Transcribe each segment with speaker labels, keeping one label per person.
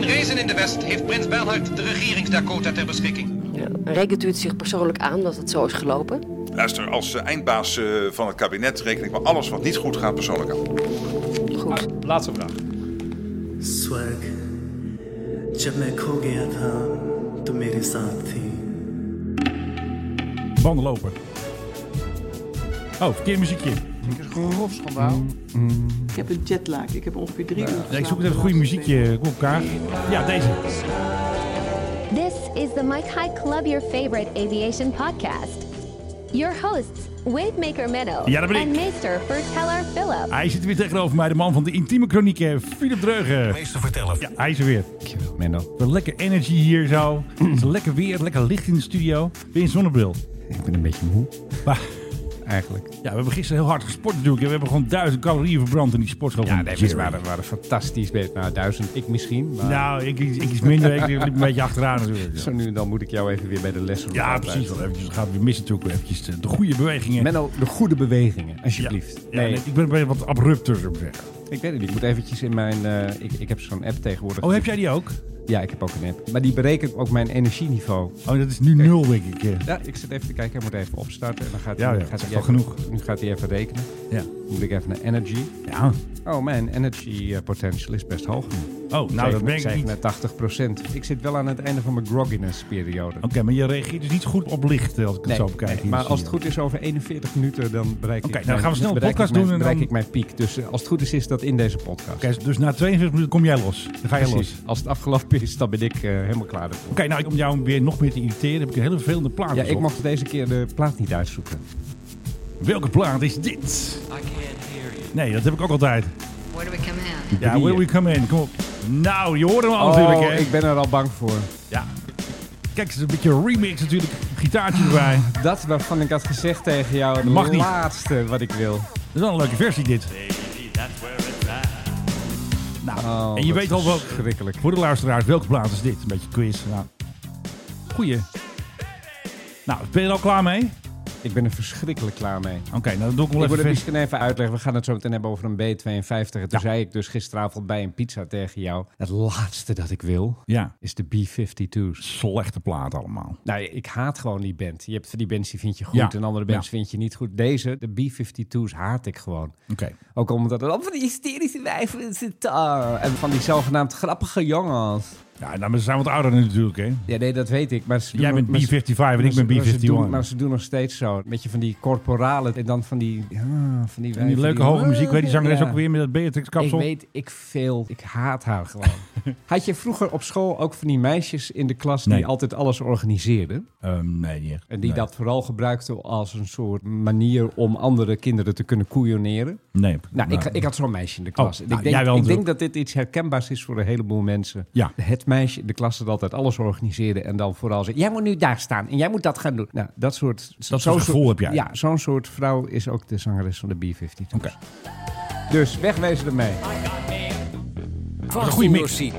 Speaker 1: In Rezen in de West heeft prins Bernhard de regeringsdakota ter beschikking.
Speaker 2: Ja. Rekent u het zich persoonlijk aan dat het zo is gelopen?
Speaker 3: Luister, als eh, eindbaas eh, van het kabinet reken ik me alles wat niet goed gaat persoonlijk aan.
Speaker 2: Goed.
Speaker 4: Laatste vraag.
Speaker 5: स्वर्ग जब मैं खो गया था तो मेरे साथ थी
Speaker 4: Bandenloper. Oh, verkeerd muziekje.
Speaker 6: Grof schandaal.
Speaker 7: Ik heb een jetlag. Ik heb ongeveer drie uur
Speaker 4: Ja, ik zoek
Speaker 7: geslapen.
Speaker 4: net een goede muziekje op elkaar. Ja, deze.
Speaker 8: This is the Mike High Club, your favorite aviation podcast. Your hosts, Wavemaker Meadow
Speaker 4: Ja, dat ben ik.
Speaker 8: and Meester Verteller Philip.
Speaker 4: Hij zit weer tegenover mij, de man van de intieme kronieken, Philip Dreugen.
Speaker 9: Meester vertellen.
Speaker 4: Ja, hij is er weer. Dankjewel, Menno. Wat lekker energy hier zo. Het is lekker weer, lekker licht in de studio. Weer een zonnebril.
Speaker 9: Ik ben een beetje moe,
Speaker 4: Maar,
Speaker 9: eigenlijk.
Speaker 4: ja, we hebben gisteren heel hard gesport natuurlijk. En we hebben gewoon duizend calorieën verbrand in die sportschool
Speaker 9: Ja,
Speaker 4: van
Speaker 9: nee, we
Speaker 4: Jerry.
Speaker 9: waren, waren fantastisch bezig. Nou, duizend, ik misschien. Maar
Speaker 4: Nou, ik, ik iets minder. Ik liep een beetje achteraan natuurlijk.
Speaker 9: zo nu en dan moet ik jou even weer bij de lessen
Speaker 4: Ja,
Speaker 9: laten.
Speaker 4: precies. Wel eventjes. Dan gaan we weer missen natuurlijk. weer Eventjes de, de goede bewegingen.
Speaker 9: Menno, de goede bewegingen,
Speaker 4: Ja.
Speaker 9: alsjeblieft.
Speaker 4: Ja,
Speaker 9: nee,
Speaker 4: nee, ik ben bij wat abrupter, zou ik zeggen.
Speaker 9: ik weet het niet. Ik moet eventjes in mijn... eh, ik, ik heb zo'n app tegenwoordig.
Speaker 4: Oh, heb jij die ook?
Speaker 9: Ja, ik heb ook een app. Maar die berekent ook mijn energieniveau.
Speaker 4: Oh, dat is nu nul, denk ik. eh.
Speaker 9: Ja, ik zit even te kijken. Hij moet even opstarten. En dan gaat
Speaker 4: Ja,
Speaker 9: hij...
Speaker 4: ja,
Speaker 9: gaat
Speaker 4: dat
Speaker 9: hij
Speaker 4: is wel
Speaker 9: even- Nu gaat hij even rekenen.
Speaker 4: Ja.
Speaker 9: Moet ik even naar energy.
Speaker 4: Ja.
Speaker 9: Oh, mijn energy eh, potential is best hoog nu.
Speaker 4: Oh, nou, dat ben ik niet. Oké,
Speaker 9: 80 Ik zit wel aan het einde van mijn grogginess periode.
Speaker 4: maar je reageert dus niet goed op licht, eh, als ik het zo bekijk. hier
Speaker 9: maar
Speaker 4: zie
Speaker 9: als het
Speaker 4: je.
Speaker 9: goed is over 41 minuten, dan bereik
Speaker 4: Oké,
Speaker 9: ik
Speaker 4: nou, dan gaan we snel een
Speaker 9: bereik ik
Speaker 4: podcast
Speaker 9: mijn-
Speaker 4: doen en
Speaker 9: bereik
Speaker 4: dan-
Speaker 9: ik mijn piek. Dus eh, als het goed is, is dat in deze podcast.
Speaker 4: Oké, dus na 42 minuten kom jij los. Dan ga je los.
Speaker 9: Precies. Als het afgelopen is, dan ben ik eh, helemaal klaar ervoor.
Speaker 4: Oké, nou, om jou weer nog meer te irriteren, heb ik een hele vervelende plaat
Speaker 9: Ja, ik
Speaker 4: gezocht.
Speaker 9: mocht deze keer de plaat niet uitzoeken.
Speaker 4: Welke plaat is dit? Nee, dat heb ik ook altijd.
Speaker 2: Where do we come in?
Speaker 4: Ja,
Speaker 9: Drieën.
Speaker 4: Where We Come In, kom op. Nou, je hoort hem al natuurlijk,
Speaker 9: Oh,
Speaker 4: hè?
Speaker 9: ik ben er al bang voor.
Speaker 4: Ja. Kijk, het is een beetje een remix natuurlijk. Gitaartje erbij.
Speaker 9: Dat waarvan ik had gezegd tegen jou, het
Speaker 4: Mag niet.
Speaker 9: laatste wat ik wil.
Speaker 4: Dat is wel een leuke versie, dit. Nou,
Speaker 9: Oh,
Speaker 4: en je
Speaker 9: wat
Speaker 4: weet al wel,
Speaker 9: verschrikkelijk.
Speaker 4: voor de luisteraars, welke plaat is dit? Een beetje quiz. Nou. Goeie. Nou, ben je er al klaar mee?
Speaker 9: Ik ben er verschrikkelijk klaar mee.
Speaker 4: Oké, nou dan doe ik hem
Speaker 9: Ik
Speaker 4: wel
Speaker 9: wil
Speaker 4: even
Speaker 9: het
Speaker 4: vers.
Speaker 9: misschien even uitleggen. We gaan het zo meteen hebben over een B52. En toen
Speaker 4: Ja.
Speaker 9: zei ik dus gisteravond bij een pizza tegen jou. Het laatste dat ik wil
Speaker 4: Ja,
Speaker 9: is de B52's.
Speaker 4: slechte plaat allemaal.
Speaker 9: Nou, ik haat gewoon die band. Je hebt van die bands die vind je goed
Speaker 4: Ja.
Speaker 9: en andere bands
Speaker 4: Ja.
Speaker 9: vind je niet goed. Deze, de B52's, haat ik gewoon.
Speaker 4: Oké.
Speaker 9: Ook omdat het allemaal van die hysterische wijven zit daar. En van die zogenaamd grappige jongens.
Speaker 4: Ja, nou, maar ze zijn wat ouder natuurlijk, hè?
Speaker 9: Ja, nee, dat weet ik. Maar ze doen
Speaker 4: Jij
Speaker 9: nog-
Speaker 4: bent
Speaker 9: maar ze-
Speaker 4: B55 en ik
Speaker 9: maar
Speaker 4: ben
Speaker 9: ze- maar ze doen- Maar
Speaker 4: B51.
Speaker 9: ze doen nog steeds zo. Een beetje van die corporale en dan van die... Ja, van die,
Speaker 4: En die leuke hoge muziek, weet die zangeres
Speaker 9: Ja.
Speaker 4: ook weer met dat Beatrix-kapsel?
Speaker 9: Ik weet, ik veel. Ik haat haar gewoon. Had je vroeger op school ook van die meisjes in de klas
Speaker 4: Nee.
Speaker 9: die altijd alles organiseerden?
Speaker 4: Ehm, nee, niet echt.
Speaker 9: En die
Speaker 4: nee.
Speaker 9: dat vooral gebruikten als een soort manier om andere kinderen te kunnen koeioneren?
Speaker 4: Nee.
Speaker 9: Nou,
Speaker 4: nee.
Speaker 9: ik, ik had zo'n meisje in de klas.
Speaker 4: Oh,
Speaker 9: En
Speaker 4: nou,
Speaker 9: ik denk,
Speaker 4: jij wel
Speaker 9: ik denk
Speaker 4: natuurlijk.
Speaker 9: dat dit iets herkenbaars is voor een heleboel mensen.
Speaker 4: Ja.
Speaker 9: Het meisje in de klas dat altijd alles organiseerde en dan vooral zei... jij moet nu daar staan en jij moet dat gaan doen. Nou, dat soort...
Speaker 4: Dat
Speaker 9: zo'n
Speaker 4: soort gevoel heb jij.
Speaker 9: Ja, zo'n soort vrouw is ook de zangeres van de B-52.
Speaker 4: Oké.
Speaker 9: Dus wegwezen ermee.
Speaker 4: Een goede mix.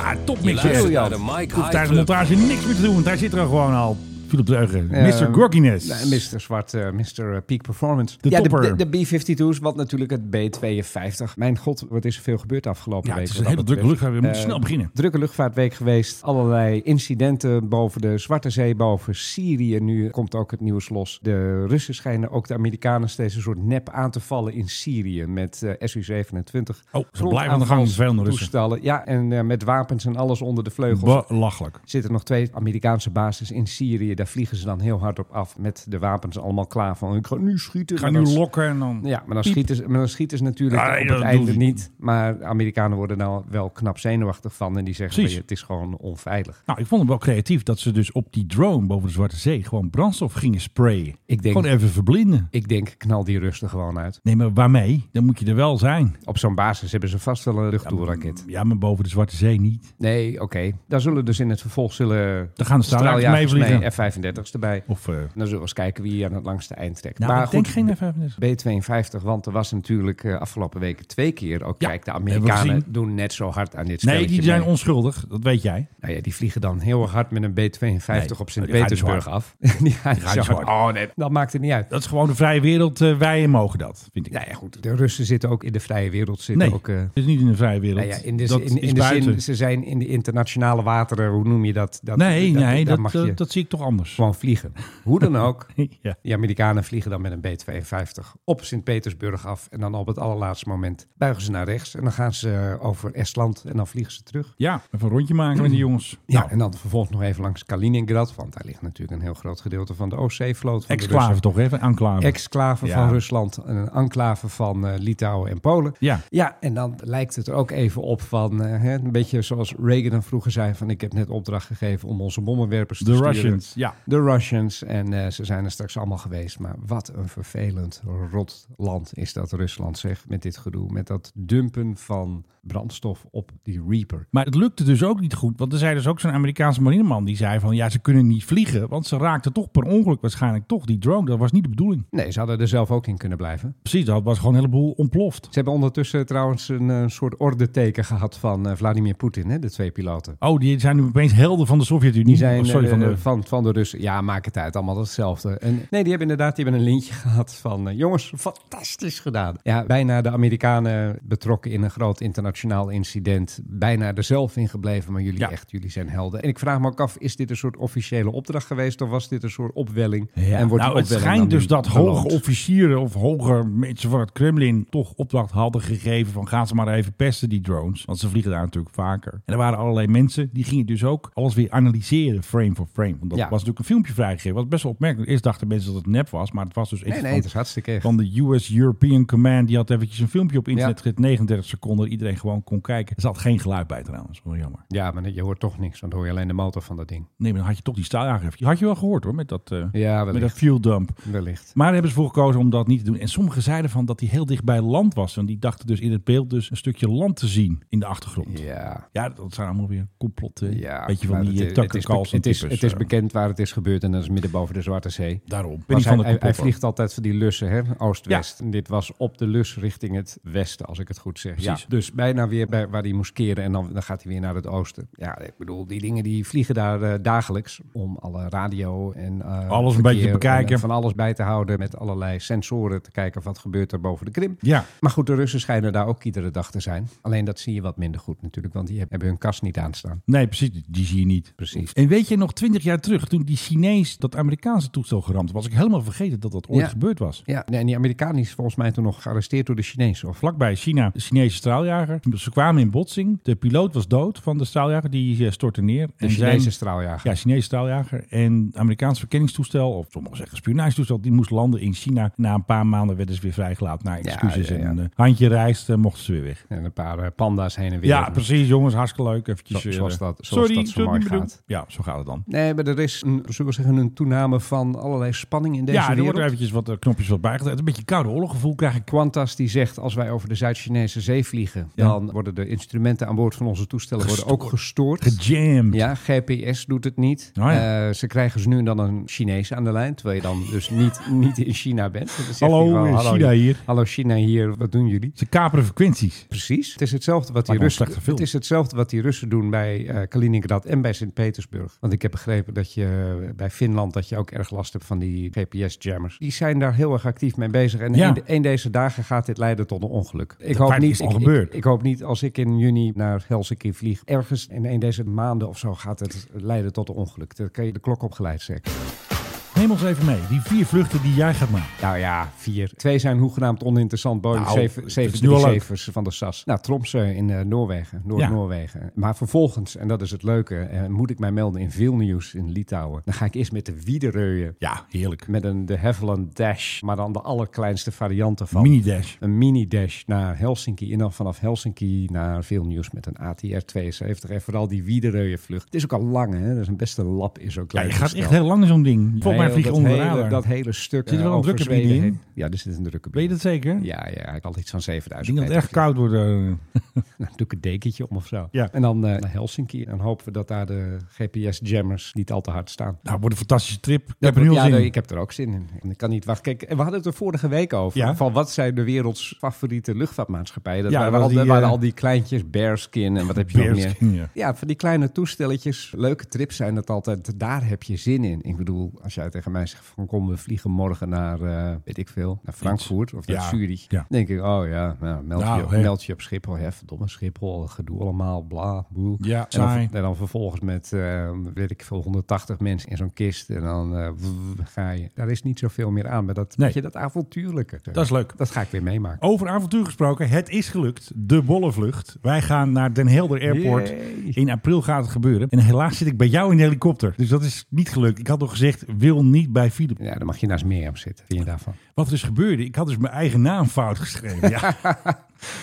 Speaker 4: Ah, topmix. hè. hoeft tijdens de montage niks meer te doen, want daar zit er gewoon al. Philip Dreugen, Mr. Gorkiness.
Speaker 9: Ehm, Nee, Mr. Zwart, eh, Mr. Peak Performance.
Speaker 4: De
Speaker 9: ja, de,
Speaker 4: topper.
Speaker 9: de, de B-52's, wat natuurlijk het B-52. Mijn god, wat is er veel gebeurd de afgelopen
Speaker 4: Ja,
Speaker 9: week.
Speaker 4: het is
Speaker 9: wat
Speaker 4: een
Speaker 9: dat
Speaker 4: hele
Speaker 9: betreft.
Speaker 4: drukke luchtvaart. We moeten
Speaker 9: Eh,
Speaker 4: snel beginnen.
Speaker 9: Drukke luchtvaartweek geweest. Allerlei incidenten boven de Zwarte Zee, boven Syrië. Nu komt ook het nieuws los. De Russen schijnen ook de Amerikanen steeds een soort nep aan te vallen in Syrië met eh, SU-27.
Speaker 4: Oh, ze blijven aan de gang, veel Russen.
Speaker 9: Toestellen. Ja, en eh, met wapens en alles onder de vleugels.
Speaker 4: Belachelijk.
Speaker 9: Er zitten nog twee Amerikaanse bases in Syrië. Daar vliegen ze dan heel hard op af met de wapens allemaal klaar van. Ik ga nu schieten.
Speaker 4: Ik ga
Speaker 9: Maar
Speaker 4: nu
Speaker 9: dan-
Speaker 4: lokken en dan...
Speaker 9: Ja, maar dan,
Speaker 4: Piep.
Speaker 9: schieten ze, maar dan schieten ze natuurlijk
Speaker 4: Ja, nee,
Speaker 9: op
Speaker 4: dat
Speaker 9: het
Speaker 4: doen
Speaker 9: einde
Speaker 4: ze.
Speaker 9: niet. Maar de Amerikanen worden nou wel knap zenuwachtig van. En die zeggen,
Speaker 4: Precies.
Speaker 9: "Ja, het is gewoon onveilig.
Speaker 4: Nou, ik vond het wel creatief dat ze dus op die drone boven de Zwarte Zee gewoon brandstof gingen sprayen.
Speaker 9: Ik denk-
Speaker 4: Gewoon even verblinden.
Speaker 9: Ik denk, knal die Russen gewoon uit.
Speaker 4: Nee, maar waarmee? Dan moet je er wel zijn.
Speaker 9: Op zo'n basis hebben ze vast wel een luchtdoelraket.
Speaker 4: Ja, maar boven de Zwarte Zee niet.
Speaker 9: Nee, oké. Daar zullen dus in het vervolg zullen
Speaker 4: Dan gaan de straaljagers mee vliegen.
Speaker 9: F-35 F-35's erbij.
Speaker 4: Of, eh,
Speaker 9: Dan zullen we eens kijken wie aan het langste eind trekt.
Speaker 4: nou,
Speaker 9: maar
Speaker 4: ik
Speaker 9: goed,
Speaker 4: denk geen F-35.
Speaker 9: B-52, want er was natuurlijk eh, afgelopen weken twee keer ook.
Speaker 4: Ja,
Speaker 9: Kijk, de
Speaker 4: hebben we
Speaker 9: Amerikanen
Speaker 4: gezien.
Speaker 9: doen net zo hard aan dit spelletje.
Speaker 4: Nee, die zijn
Speaker 9: mee.
Speaker 4: onschuldig. Dat weet jij.
Speaker 9: Nou ja, die vliegen dan heel erg hard met een B-52
Speaker 4: Nee,
Speaker 9: op
Speaker 4: die gaat niet zo
Speaker 9: Sint-Petersburg
Speaker 4: hard.
Speaker 9: af. die gaan
Speaker 4: gaat
Speaker 9: zo
Speaker 4: niet zo
Speaker 9: hard. Oh nee, dat maakt het niet uit.
Speaker 4: Dat is gewoon de vrije wereld. eh, wij mogen dat, vind ik.
Speaker 9: Nou ja, goed. De Russen zitten ook in de vrije wereld. Zitten
Speaker 4: nee,
Speaker 9: ook, eh,
Speaker 4: het is niet in de vrije wereld.
Speaker 9: nou ja, in de,
Speaker 4: dat
Speaker 9: in, in
Speaker 4: is
Speaker 9: de
Speaker 4: buiten.
Speaker 9: zin, ze zijn in de internationale wateren, hoe noem je dat? dat
Speaker 4: nee,
Speaker 9: dat, daar
Speaker 4: nee, dat,
Speaker 9: mag
Speaker 4: eh,
Speaker 9: je
Speaker 4: dat zie ik toch anders.
Speaker 9: gewoon vliegen. Hoe dan ook,
Speaker 4: ja.
Speaker 9: die Amerikanen vliegen dan met een B-52 op Sint-Petersburg af. En dan op het allerlaatste moment buigen ze naar rechts en dan gaan ze over Estland en dan vliegen ze terug.
Speaker 4: ja, even een rondje maken met de jongens.
Speaker 9: Ja,
Speaker 4: Nou,
Speaker 9: en dan vervolgens nog even langs Kaliningrad, want daar ligt natuurlijk een heel groot gedeelte van de Oostzeevloot. van de
Speaker 4: exclave
Speaker 9: Russen.
Speaker 4: toch, even enclave.
Speaker 9: Exclave
Speaker 4: Oh. Ja.
Speaker 9: van Rusland, en een enclave van eh, Litouwen en Polen.
Speaker 4: ja,
Speaker 9: Ja, en dan lijkt het er ook even op van, eh, hè, een beetje zoals Reagan dan vroeger zei, van ik heb net opdracht gegeven om onze bommenwerpers te
Speaker 4: de
Speaker 9: sturen.
Speaker 4: Russians. Ja.
Speaker 9: De Russians. En eh, ze zijn er straks allemaal geweest. Maar wat een vervelend rot land is dat Rusland, zeg, met dit gedoe. Met dat dumpen van brandstof op die Reaper.
Speaker 4: Maar het lukte dus ook niet goed. Want er zei dus ook zo'n Amerikaanse marineman die zei van... ja, ze kunnen niet vliegen, want ze raakten toch per ongeluk waarschijnlijk toch die drone. Dat was niet de bedoeling.
Speaker 9: Nee, ze hadden er zelf ook in kunnen blijven.
Speaker 4: Precies, dat was gewoon een heleboel ontploft.
Speaker 9: Ze hebben ondertussen trouwens een, eh, soort ordeteken gehad van eh, Vladimir Poetin, hè, de twee piloten.
Speaker 4: Oh, die zijn nu opeens helden van de Sovjet-Unie.
Speaker 9: Die zijn
Speaker 4: Oh, sorry,
Speaker 9: eh,
Speaker 4: van de...
Speaker 9: van, van de Russen. Ja, maak het uit. Allemaal hetzelfde. En, nee, die hebben inderdaad die hebben een lintje gehad van... eh, jongens, fantastisch gedaan. Ja, bijna de Amerikanen betrokken in een groot internationaal incident. Bijna er zelf in gebleven. Maar jullie
Speaker 4: Ja.
Speaker 9: echt, jullie zijn helden. En ik vraag me ook af, is dit een soort officiële opdracht geweest? Of was dit een soort opwelling?
Speaker 4: Ja.
Speaker 9: En wordt
Speaker 4: nou,
Speaker 9: die
Speaker 4: het
Speaker 9: opwelling
Speaker 4: schijnt
Speaker 9: dan
Speaker 4: dus dat
Speaker 9: beloond?
Speaker 4: hoge officieren of hoge mensen van het Kremlin toch opdracht hadden gegeven van gaan ze maar even pesten die drones. Want ze vliegen daar natuurlijk vaker. En er waren allerlei mensen die gingen dus ook alles weer analyseren frame voor frame. Want dat
Speaker 9: Ja.
Speaker 4: was natuurlijk een filmpje vrijgegeven. Wat best wel opmerkelijk. Eerst dachten mensen dat het nep was, maar het was dus echt
Speaker 9: Nee, nee,
Speaker 4: van-
Speaker 9: het is hartstikke echt.
Speaker 4: van de US European Command. Die had eventjes een filmpje op internet
Speaker 9: Ja.
Speaker 4: gezet, 39 seconden. dat Iedereen gewoon kon kijken. Er zat geen geluid bij trouwens. Wel jammer.
Speaker 9: Ja, maar je hoort toch niks. Want dan hoor je alleen de motor van dat ding.
Speaker 4: Nee, maar dan had je toch die stijl Die Had je wel gehoord hoor, met dat, eh,
Speaker 9: Ja,
Speaker 4: met dat
Speaker 9: wellicht.
Speaker 4: fuel dump.
Speaker 9: Wellicht.
Speaker 4: Maar daar hebben ze voor gekozen om dat niet te doen. En sommigen zeiden van dat hij heel dicht bij land was. En die dachten dus in het beeld dus een stukje land te zien in de achtergrond. Ja,
Speaker 9: Ja,
Speaker 4: dat zijn allemaal weer complotten.
Speaker 9: Ja,
Speaker 4: Weet je van
Speaker 9: maar
Speaker 4: die
Speaker 9: het-
Speaker 4: eh,
Speaker 9: het
Speaker 4: Tucker
Speaker 9: is be-
Speaker 4: Carlson
Speaker 9: Het is,
Speaker 4: types,
Speaker 9: het is
Speaker 4: eh.
Speaker 9: bekend waar het is gebeurd en dat is midden boven de Zwarte Zee.
Speaker 4: Daarom. Ben
Speaker 9: Was
Speaker 4: ik van
Speaker 9: hij,
Speaker 4: de
Speaker 9: hij, hij
Speaker 4: complot,
Speaker 9: vliegt altijd van die lussen, hè? oost-west. En dit was op de lus richting het westen, als ik het goed zeg. Ja,
Speaker 4: Precies.
Speaker 9: dus bijna weer bij, waar hij moest keren en dan, dan gaat hij weer naar het oosten. Ja, ik bedoel, die dingen die vliegen daar eh, dagelijks om alle radio en... eh,
Speaker 4: Alles een beetje
Speaker 9: verkeer
Speaker 4: te
Speaker 9: en,
Speaker 4: bekijken.
Speaker 9: eh, Van alles bij te houden met allerlei sensoren te kijken wat gebeurt er boven de Krim.
Speaker 4: Ja,
Speaker 9: Maar goed, de Russen schijnen daar ook iedere dag te zijn. Alleen dat zie je wat minder goed natuurlijk, want die hebben hun kast niet aanstaan.
Speaker 4: nee, precies. Die zie je niet.
Speaker 9: Precies.
Speaker 4: En weet je nog, twintig jaar terug, toen die Chinees dat Amerikaanse toestel geramd was, ik helemaal vergeten dat dat ooit
Speaker 9: Ja.
Speaker 4: gebeurd was.
Speaker 9: Ja, nee, en die Amerikaan is volgens mij toen nog gearresteerd door de Chinezen. Of
Speaker 4: Vlakbij China, de Chinese straaljager. Dus Ze kwamen in botsing. De piloot was dood van de straaljager. Die eh, stortte neer.
Speaker 9: de
Speaker 4: en
Speaker 9: Chinese
Speaker 4: zijn,
Speaker 9: straaljager.
Speaker 4: Ja, Chinese straaljager. En Amerikaans verkenningstoestel, of sommigen zeggen spionagetoestel, die moest landen in China. Na een paar maanden werden ze weer vrijgelaten. Na excuses
Speaker 9: ja, ja.
Speaker 4: en een eh, handje rijst, eh, mochten ze weer weg.
Speaker 9: En een paar eh, panda's heen en weer.
Speaker 4: Ja, precies jongens, hartstikke leuk. Eventjes,
Speaker 9: Zo-
Speaker 4: eh,
Speaker 9: zoals dat- zoals dat zo
Speaker 4: zullen we
Speaker 9: mooi
Speaker 4: niet meer doen.
Speaker 9: gaat.
Speaker 4: Ja, zo gaat het dan.
Speaker 9: Nee, maar er is een, zullen we zeggen, een toename van allerlei spanning in deze
Speaker 4: ja, er
Speaker 9: wereld.
Speaker 4: wordt er eventjes wat eh, knopjes wat bijgezet. Een beetje koude oorloggevoel krijg ik.
Speaker 9: Qantas die zegt, als wij over de Zuid-Chinese zee vliegen,
Speaker 4: Ja.
Speaker 9: dan worden de instrumenten aan boord van onze toestellen worden ook gestoord.
Speaker 4: Gejamd.
Speaker 9: Ja, GPS doet het niet.
Speaker 4: Oh ja.
Speaker 9: Eh, ze krijgen ze nu en dan een Chinees aan de lijn, terwijl je dan dus niet, niet in China bent. Dan zegt
Speaker 4: Hallo,
Speaker 9: hij gewoon,
Speaker 4: eh, China hier."
Speaker 9: Hallo China hier, wat doen jullie?
Speaker 4: Ze kaperen frequenties.
Speaker 9: Precies. Het is hetzelfde wat, die
Speaker 4: Lijkt
Speaker 9: Russen,
Speaker 4: me een slechte film.
Speaker 9: het is hetzelfde wat die Russen doen bij eh, Kaliningrad en bij Sint-Petersburg. Want ik heb begrepen dat je eh, bij Finland dat je ook erg last hebt van die GPS-jammers. Die zijn daar heel erg actief mee bezig. En
Speaker 4: Ja.
Speaker 9: een, een deze dagen gaat dit leiden tot een ongeluk. Ik
Speaker 4: feit is al
Speaker 9: ik,
Speaker 4: gebeurd.
Speaker 9: Ik, ik hoop niet als ik in juni naar Helsinki vlieg. Ergens in een deze maanden of zo gaat het leiden tot een ongeluk. Dan kan je de klok opgeleid zetten.
Speaker 4: Neem ons even mee. Die vier vluchten die jij gaat maken.
Speaker 9: Nou ja, vier. Twee zijn hoegenaamd oninteressant. Boeing
Speaker 4: Nou,
Speaker 9: zeven
Speaker 4: het is nu al leuk.
Speaker 9: 737's van de SAS. Nou, Tromsø in eh, Noorwegen,
Speaker 4: Ja.
Speaker 9: Noord-Noorwegen. Maar vervolgens, en dat is het leuke, eh, moet ik mij melden in Vilnius in Litouwen. Dan ga ik eerst met de Wiedereuien.
Speaker 4: Ja, heerlijk.
Speaker 9: Met een de Havilland Dash, maar dan de allerkleinste variant ervan.
Speaker 4: Mini-dash.
Speaker 9: Een mini-dash naar Helsinki. En dan vanaf Helsinki naar Vilnius met een ATR-72. En vooral die Wiedereuien vlucht. Het is ook al lang, hè? Dat is een beste lap is ook
Speaker 4: Ja, je
Speaker 9: leuk
Speaker 4: gaat
Speaker 9: gestel.
Speaker 4: echt heel lang in zo'n ding. Volgens mij hij vliegt onder de
Speaker 9: hele,
Speaker 4: radar.
Speaker 9: dat hele stuk
Speaker 4: Zit er wel
Speaker 9: eh,
Speaker 4: een
Speaker 9: over
Speaker 4: drukke binnen
Speaker 9: Zweden
Speaker 4: in?
Speaker 9: heen. Ja, er zit een drukke
Speaker 4: Weet je dat zeker?
Speaker 9: binnen. Ja, ja, hij kan iets van 7000
Speaker 4: Ik denk dat het
Speaker 9: meter
Speaker 4: echt koud wordt. eh.
Speaker 9: Nou, doe ik een dekentje om of zo.
Speaker 4: Ja.
Speaker 9: En dan eh, naar Helsinki. En dan hopen we dat daar de GPS-jammers niet al te hard staan.
Speaker 4: Nou, het wordt een fantastische trip. Ik
Speaker 9: Ja,
Speaker 4: heb er heel
Speaker 9: ja,
Speaker 4: zin
Speaker 9: nee,
Speaker 4: in.
Speaker 9: ik heb er ook zin in. En ik kan niet wachten. Kijk, en we hadden het er vorige week over.
Speaker 4: Ja.
Speaker 9: Van wat zijn de werelds favoriete luchtvaartmaatschappijen? Dat
Speaker 4: Ja,
Speaker 9: waren,
Speaker 4: dat
Speaker 9: al,
Speaker 4: was die,
Speaker 9: waren
Speaker 4: eh,
Speaker 9: al die kleintjes, Bearskin en wat heb je nog meer?
Speaker 4: Bearskin, ja.
Speaker 9: Ja, van die kleine toestelletjes. Leuke trips zijn het altijd. Daar heb je zin in. Ik bedoel, als jij tegen mij zegt van kom, we vliegen morgen naar, eh, weet ik veel, naar Frankfurt of naar
Speaker 4: Ja,
Speaker 9: Zurich.
Speaker 4: ja.
Speaker 9: Dan denk ik, oh ja, nou, meld,
Speaker 4: Nou,
Speaker 9: je, op-
Speaker 4: hè.
Speaker 9: meld je op Schiphol. Hè, verdomme Schiphol, gedoe allemaal, bla, boe.
Speaker 4: Ja,
Speaker 9: en, dan,
Speaker 4: saai.
Speaker 9: en dan vervolgens met, eh, weet ik veel, 180 mensen in zo'n kist. En dan eh, wf, ga je. Daar is niet zoveel meer aan. Maar dat,
Speaker 4: Nee.
Speaker 9: weet je, dat avontuurlijke.
Speaker 4: Dat is leuk.
Speaker 9: Dat ga ik weer meemaken.
Speaker 4: Over avontuur gesproken, het is gelukt. De bollevlucht. Wij gaan naar Den Helder Airport.
Speaker 9: Yay.
Speaker 4: In april gaat het gebeuren. En helaas zit ik bij jou in de helikopter. Dus dat is niet gelukt. Ik had nog gezegd, wil niet bij Philip.
Speaker 9: Ja, dan mag je naast Mirjam zitten. Vind je daarvan?
Speaker 4: Wat er dus gebeurde, ik had dus mijn eigen naam fout geschreven. Ja,